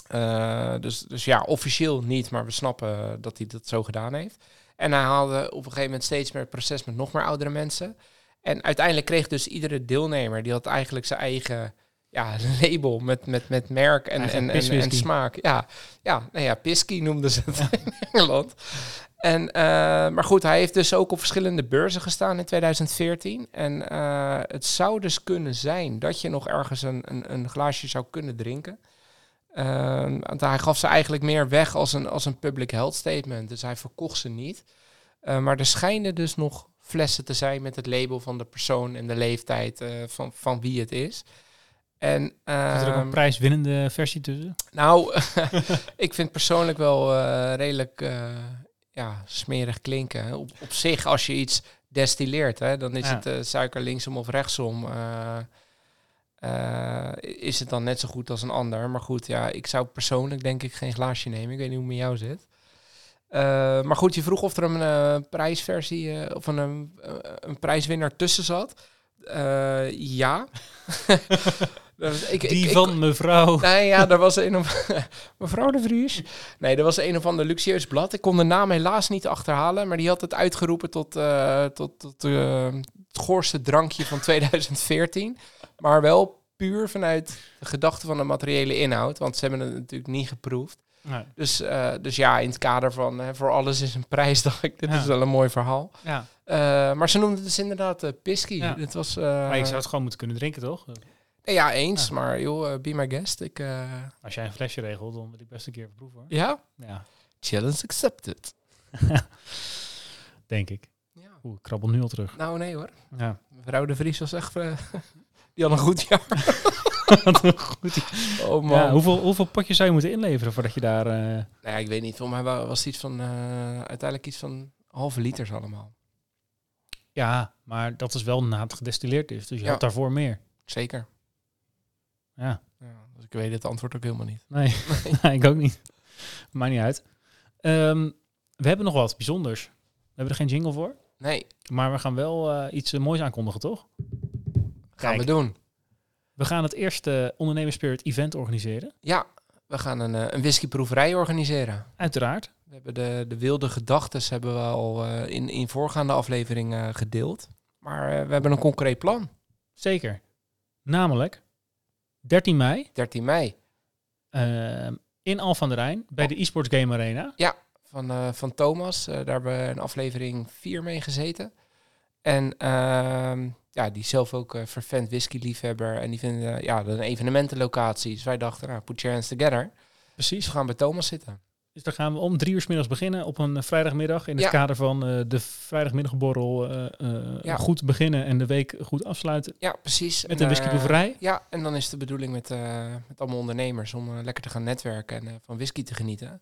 Speaker 1: Eh, dus, dus ja, officieel niet, maar we snappen dat hij dat zo gedaan heeft. En hij haalde op een gegeven moment steeds meer proces met nog meer oudere mensen. En uiteindelijk kreeg dus iedere deelnemer, die had eigenlijk zijn eigen ja, [LAUGHS] een label met, met, met merk en,
Speaker 2: Eigen
Speaker 1: en, en, en
Speaker 2: piswhisky.
Speaker 1: smaak. Ja, ja, nou ja, Pisky noemden ze het in Engeland. En, eh, maar goed, hij heeft dus ook op verschillende beurzen gestaan in 2014. En eh, het zou dus kunnen zijn dat je nog ergens een, een, een glaasje zou kunnen drinken. Eh, want hij gaf ze eigenlijk meer weg als een, als een public health statement. Dus hij verkocht ze niet. Eh, maar er schijnen dus nog flessen te zijn met het label van de persoon en de leeftijd eh, van, van wie het is. En,
Speaker 2: Zit er ook een
Speaker 1: ehm,
Speaker 2: prijswinnende versie tussen?
Speaker 1: nou, [LAUGHS] ik vind persoonlijk wel eh, redelijk eh, ja, smerig klinken. hè. Op, op zich, als je iets destilleert, hè, dan is
Speaker 2: Ja.
Speaker 1: het eh, suiker linksom of rechtsom. eh, eh, is het dan net zo goed als een ander. Maar goed, ja, ik zou persoonlijk denk ik geen glaasje nemen. Ik weet niet hoe het met jou zit. Eh, maar goed, je vroeg of er een eh, prijsversie eh, of een, eh, een prijswinnaar tussen zat. Eh, ja. [LAUGHS] Dus ik-
Speaker 2: Die
Speaker 1: ik- ik-
Speaker 2: van mevrouw.
Speaker 1: Nee, ja, er was een of... [LAUGHS] Mevrouw de Vries? Nee, er was een of ander luxueus blad. Ik kon de naam helaas niet achterhalen, maar die had het uitgeroepen tot, eh, tot, tot eh, het goorste drankje van 2014. Maar wel puur vanuit de gedachte van de materiële inhoud, want ze hebben het natuurlijk niet geproefd.
Speaker 2: [LAUGHS] Nou,
Speaker 1: Dus, eh, dus ja, in het kader van hè, voor alles is een prijs, [LAUGHS] dacht ik, dit
Speaker 2: Ja.
Speaker 1: is wel een mooi verhaal.
Speaker 2: ja.
Speaker 1: Eh, maar ze noemden het dus inderdaad eh Pisky.
Speaker 2: Ja.
Speaker 1: Dit was, eh,
Speaker 2: Maar je zou het gewoon moeten kunnen drinken, toch?
Speaker 1: Ja, eens,
Speaker 2: Ja.
Speaker 1: maar joh, eh, be my guest. Ik, eh,
Speaker 2: Als jij een flesje regelt, dan wil ik best een keer proeven hoor.
Speaker 1: ja,
Speaker 2: Ja,
Speaker 1: challenge accepted.
Speaker 2: denk ik. Oeh, ik krabbel nu al terug.
Speaker 1: Nou, nee hoor.
Speaker 2: Ja. [LAUGHS]
Speaker 1: Mevrouw de Vries was echt... eh, [LAUGHS] die had een goed [LAUGHS] jaar.
Speaker 2: Goed.
Speaker 1: Oh man.
Speaker 2: Ja, hoeveel, hoeveel potjes zou je moeten inleveren voordat je daar... eh,
Speaker 1: Nou ja, ik weet niet. Volgens mij wa- was het iets van... eh, uiteindelijk iets van halve liters allemaal.
Speaker 2: Ja, maar dat is wel na het gedestilleerd is. Dus je
Speaker 1: Ja.
Speaker 2: had daarvoor meer.
Speaker 1: Zeker.
Speaker 2: Ja,
Speaker 1: Ja, dus ik weet het antwoord ook helemaal niet.
Speaker 2: nee, nee, [LAUGHS] ik ook niet. Maakt niet uit. Ehm, we hebben nog wat bijzonders. We hebben er geen jingle voor.
Speaker 1: Nee,
Speaker 2: Maar we gaan wel eh, iets eh, moois aankondigen, toch?
Speaker 1: gaan
Speaker 2: Kijk.
Speaker 1: we doen.
Speaker 2: We gaan het eerste Ondernemers Spirit event organiseren.
Speaker 1: Ja, we gaan een, eh, een whiskyproeverij organiseren.
Speaker 2: Uiteraard.
Speaker 1: We hebben de, de wilde gedachtes hebben we al eh, in, in voorgaande afleveringen eh, gedeeld. Maar eh, we hebben een concreet plan.
Speaker 2: Zeker. Namelijk 13 mei
Speaker 1: 13 mei.
Speaker 2: Ehm, in Al van der Rijn, bij de eSports Game Arena.
Speaker 1: van, eh, van Thomas. Eh, daar hebben we een aflevering 4 mee gezeten. En ehm, ja, die is zelf ook eh vervent whisky-liefhebber. En die vinden eh, ja, een evenementenlocatie. Dus wij dachten, nou, put your hands together. Dus
Speaker 2: Precies.
Speaker 1: we gaan bij Thomas zitten.
Speaker 2: Dus daar gaan we om drie uur 's middags beginnen op een eh, vrijdagmiddag. In het
Speaker 1: Ja.
Speaker 2: kader van eh, de vrijdagmiddagborrel eh, eh,
Speaker 1: Ja.
Speaker 2: goed beginnen en de week goed afsluiten.
Speaker 1: Ja, precies.
Speaker 2: Met
Speaker 1: En,
Speaker 2: een
Speaker 1: eh,
Speaker 2: whiskyproeverij.
Speaker 1: ja, en dan is de bedoeling met, eh, met allemaal ondernemers om eh, lekker te gaan netwerken en eh, van whisky te genieten.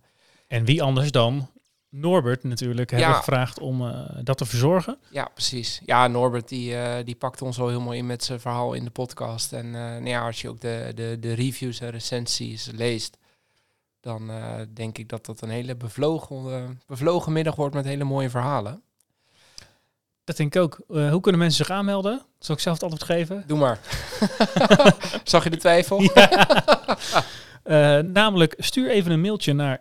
Speaker 2: En wie anders dan Norbert natuurlijk hebben
Speaker 1: Ja.
Speaker 2: gevraagd om eh, dat te verzorgen.
Speaker 1: Ja, precies. Ja, Norbert die, eh, die pakt ons al helemaal in met zijn verhaal in de podcast. En eh, nou ja, als je ook de, de, de reviews en recensies leest, dan eh, denk ik dat dat een hele bevlogen, eh, bevlogen middag wordt met hele mooie verhalen.
Speaker 2: Dat denk ik ook. Eh, hoe kunnen mensen zich aanmelden? Zal ik zelf het antwoord geven?
Speaker 1: Doe maar. [LAUGHS] Zag je de twijfel?
Speaker 2: [LAUGHS] Eh, namelijk, stuur even een mailtje naar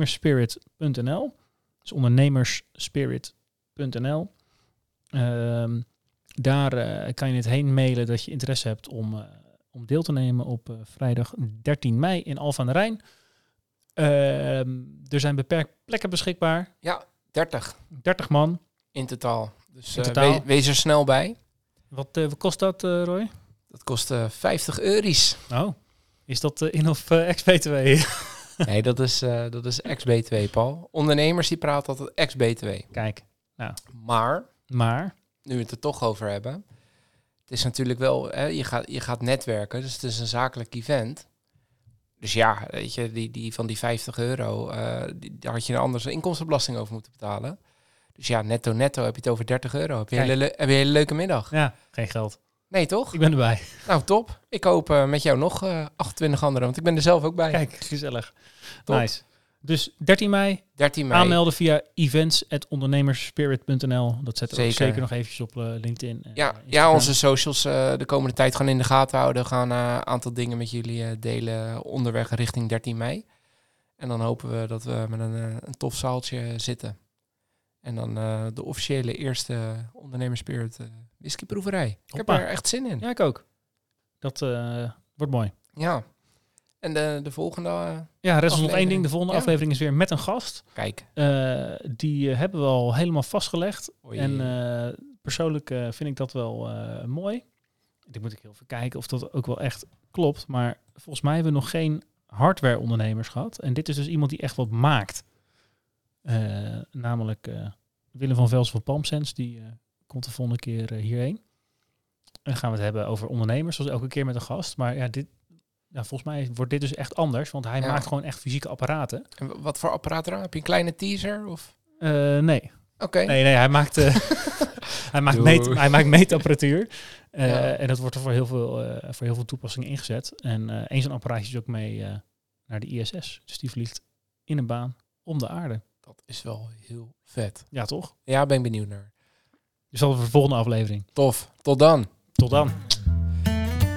Speaker 2: events.ondernemerspirit.nl. Dus ondernemersspirit.nl. Ehm, daar eh, kan je het heen mailen dat je interesse hebt om, eh, om deel te nemen op eh, vrijdag 13 mei in Alphen aan de Rijn. Ehm, er zijn beperkt plekken beschikbaar.
Speaker 1: 30
Speaker 2: 30 man.
Speaker 1: in totaal. Dus
Speaker 2: In
Speaker 1: eh,
Speaker 2: totaal.
Speaker 1: we- wees er snel bij.
Speaker 2: Wat, eh, wat kost dat, eh, Roy?
Speaker 1: Dat kost eh, 50 euro's.
Speaker 2: Oh, is dat eh, in of eh, ex-BTW?
Speaker 1: Nee, dat is, eh, dat is ex-BTW, Paul. Ondernemers die praten altijd ex-BTW.
Speaker 2: Kijk,
Speaker 1: Maar
Speaker 2: maar
Speaker 1: nu we het er toch over hebben. Het is natuurlijk wel, hè, je, gaat, je gaat netwerken, dus het is een zakelijk event. Dus ja, weet je, die, die van die 50 euro, eh, die, daar had je een anders inkomstenbelasting over moeten betalen. Dus ja, netto netto heb je het over 30 euro. Heb je, een
Speaker 2: Kijk.
Speaker 1: hele, le- heb je een hele leuke middag.
Speaker 2: ja, geen geld.
Speaker 1: Nee, toch?
Speaker 2: Ik ben erbij.
Speaker 1: Nou, top. Ik hoop eh, met jou nog eh, 28 anderen, want ik ben er zelf ook bij.
Speaker 2: Kijk, [LAUGHS] gezellig.
Speaker 1: Top.
Speaker 2: Nice. Dus 13 mei,
Speaker 1: 13 mei.
Speaker 2: aanmelden via events.ondernemersspirit.nl. Dat zetten we ook
Speaker 1: Zeker.
Speaker 2: zeker nog eventjes op eh, LinkedIn. en, eh,
Speaker 1: Ja, ja,
Speaker 2: Instagram.
Speaker 1: onze socials eh, de komende tijd gaan in de gaten houden. We gaan eh, een aantal dingen met jullie eh, delen onderweg richting 13 mei. En dan hopen we dat we met een, eh, een tof zaaltje zitten. En dan eh, de officiële eerste ondernemerspirit eh whiskyproeverij. Ik heb
Speaker 2: Hoppa.
Speaker 1: er echt zin in.
Speaker 2: Ja, ik ook. Dat eh, wordt mooi.
Speaker 1: Ja. En de, de volgende... eh,
Speaker 2: Ja, rest is nog één
Speaker 1: Aflevering.
Speaker 2: ding. De volgende
Speaker 1: Ja.
Speaker 2: aflevering is weer met een gast.
Speaker 1: kijk.
Speaker 2: Eh, die eh, hebben we al helemaal vastgelegd.
Speaker 1: Oei.
Speaker 2: En eh, persoonlijk eh, vind ik dat wel eh, mooi. Ik moet ik heel even kijken of dat ook wel echt klopt. Maar volgens mij hebben we nog geen hardware ondernemers gehad. En dit is dus iemand die echt wat maakt. Eh, namelijk eh, Willem van Velsen van Palmsense. Die eh, komt de volgende keer eh, hierheen. En dan gaan we het hebben over ondernemers, zoals elke keer met een gast. Maar ja, dit, ja, volgens mij wordt dit dus echt anders. Want hij
Speaker 1: Ja.
Speaker 2: maakt gewoon echt fysieke apparaten.
Speaker 1: En w- wat voor apparaat eraan? Heb je een kleine teaser? Of?
Speaker 2: Eh, nee.
Speaker 1: Oké.
Speaker 2: Nee, nee, hij maakt,
Speaker 1: [LAUGHS]
Speaker 2: eh, hij maakt, meet,
Speaker 1: Doei.
Speaker 2: hij maakt meetapparatuur. Eh,
Speaker 1: Ja.
Speaker 2: En dat wordt er voor heel veel, eh, voor heel veel toepassingen ingezet. En eh eens een apparaatje is ook mee eh, naar de ISS. Dus die vliegt in een baan om de aarde.
Speaker 1: Dat is wel heel vet.
Speaker 2: Ja, toch?
Speaker 1: Ja, ben ik benieuwd naar.
Speaker 2: Dus dat voor de volgende aflevering.
Speaker 1: Tof. Tot dan.
Speaker 2: Tot dan.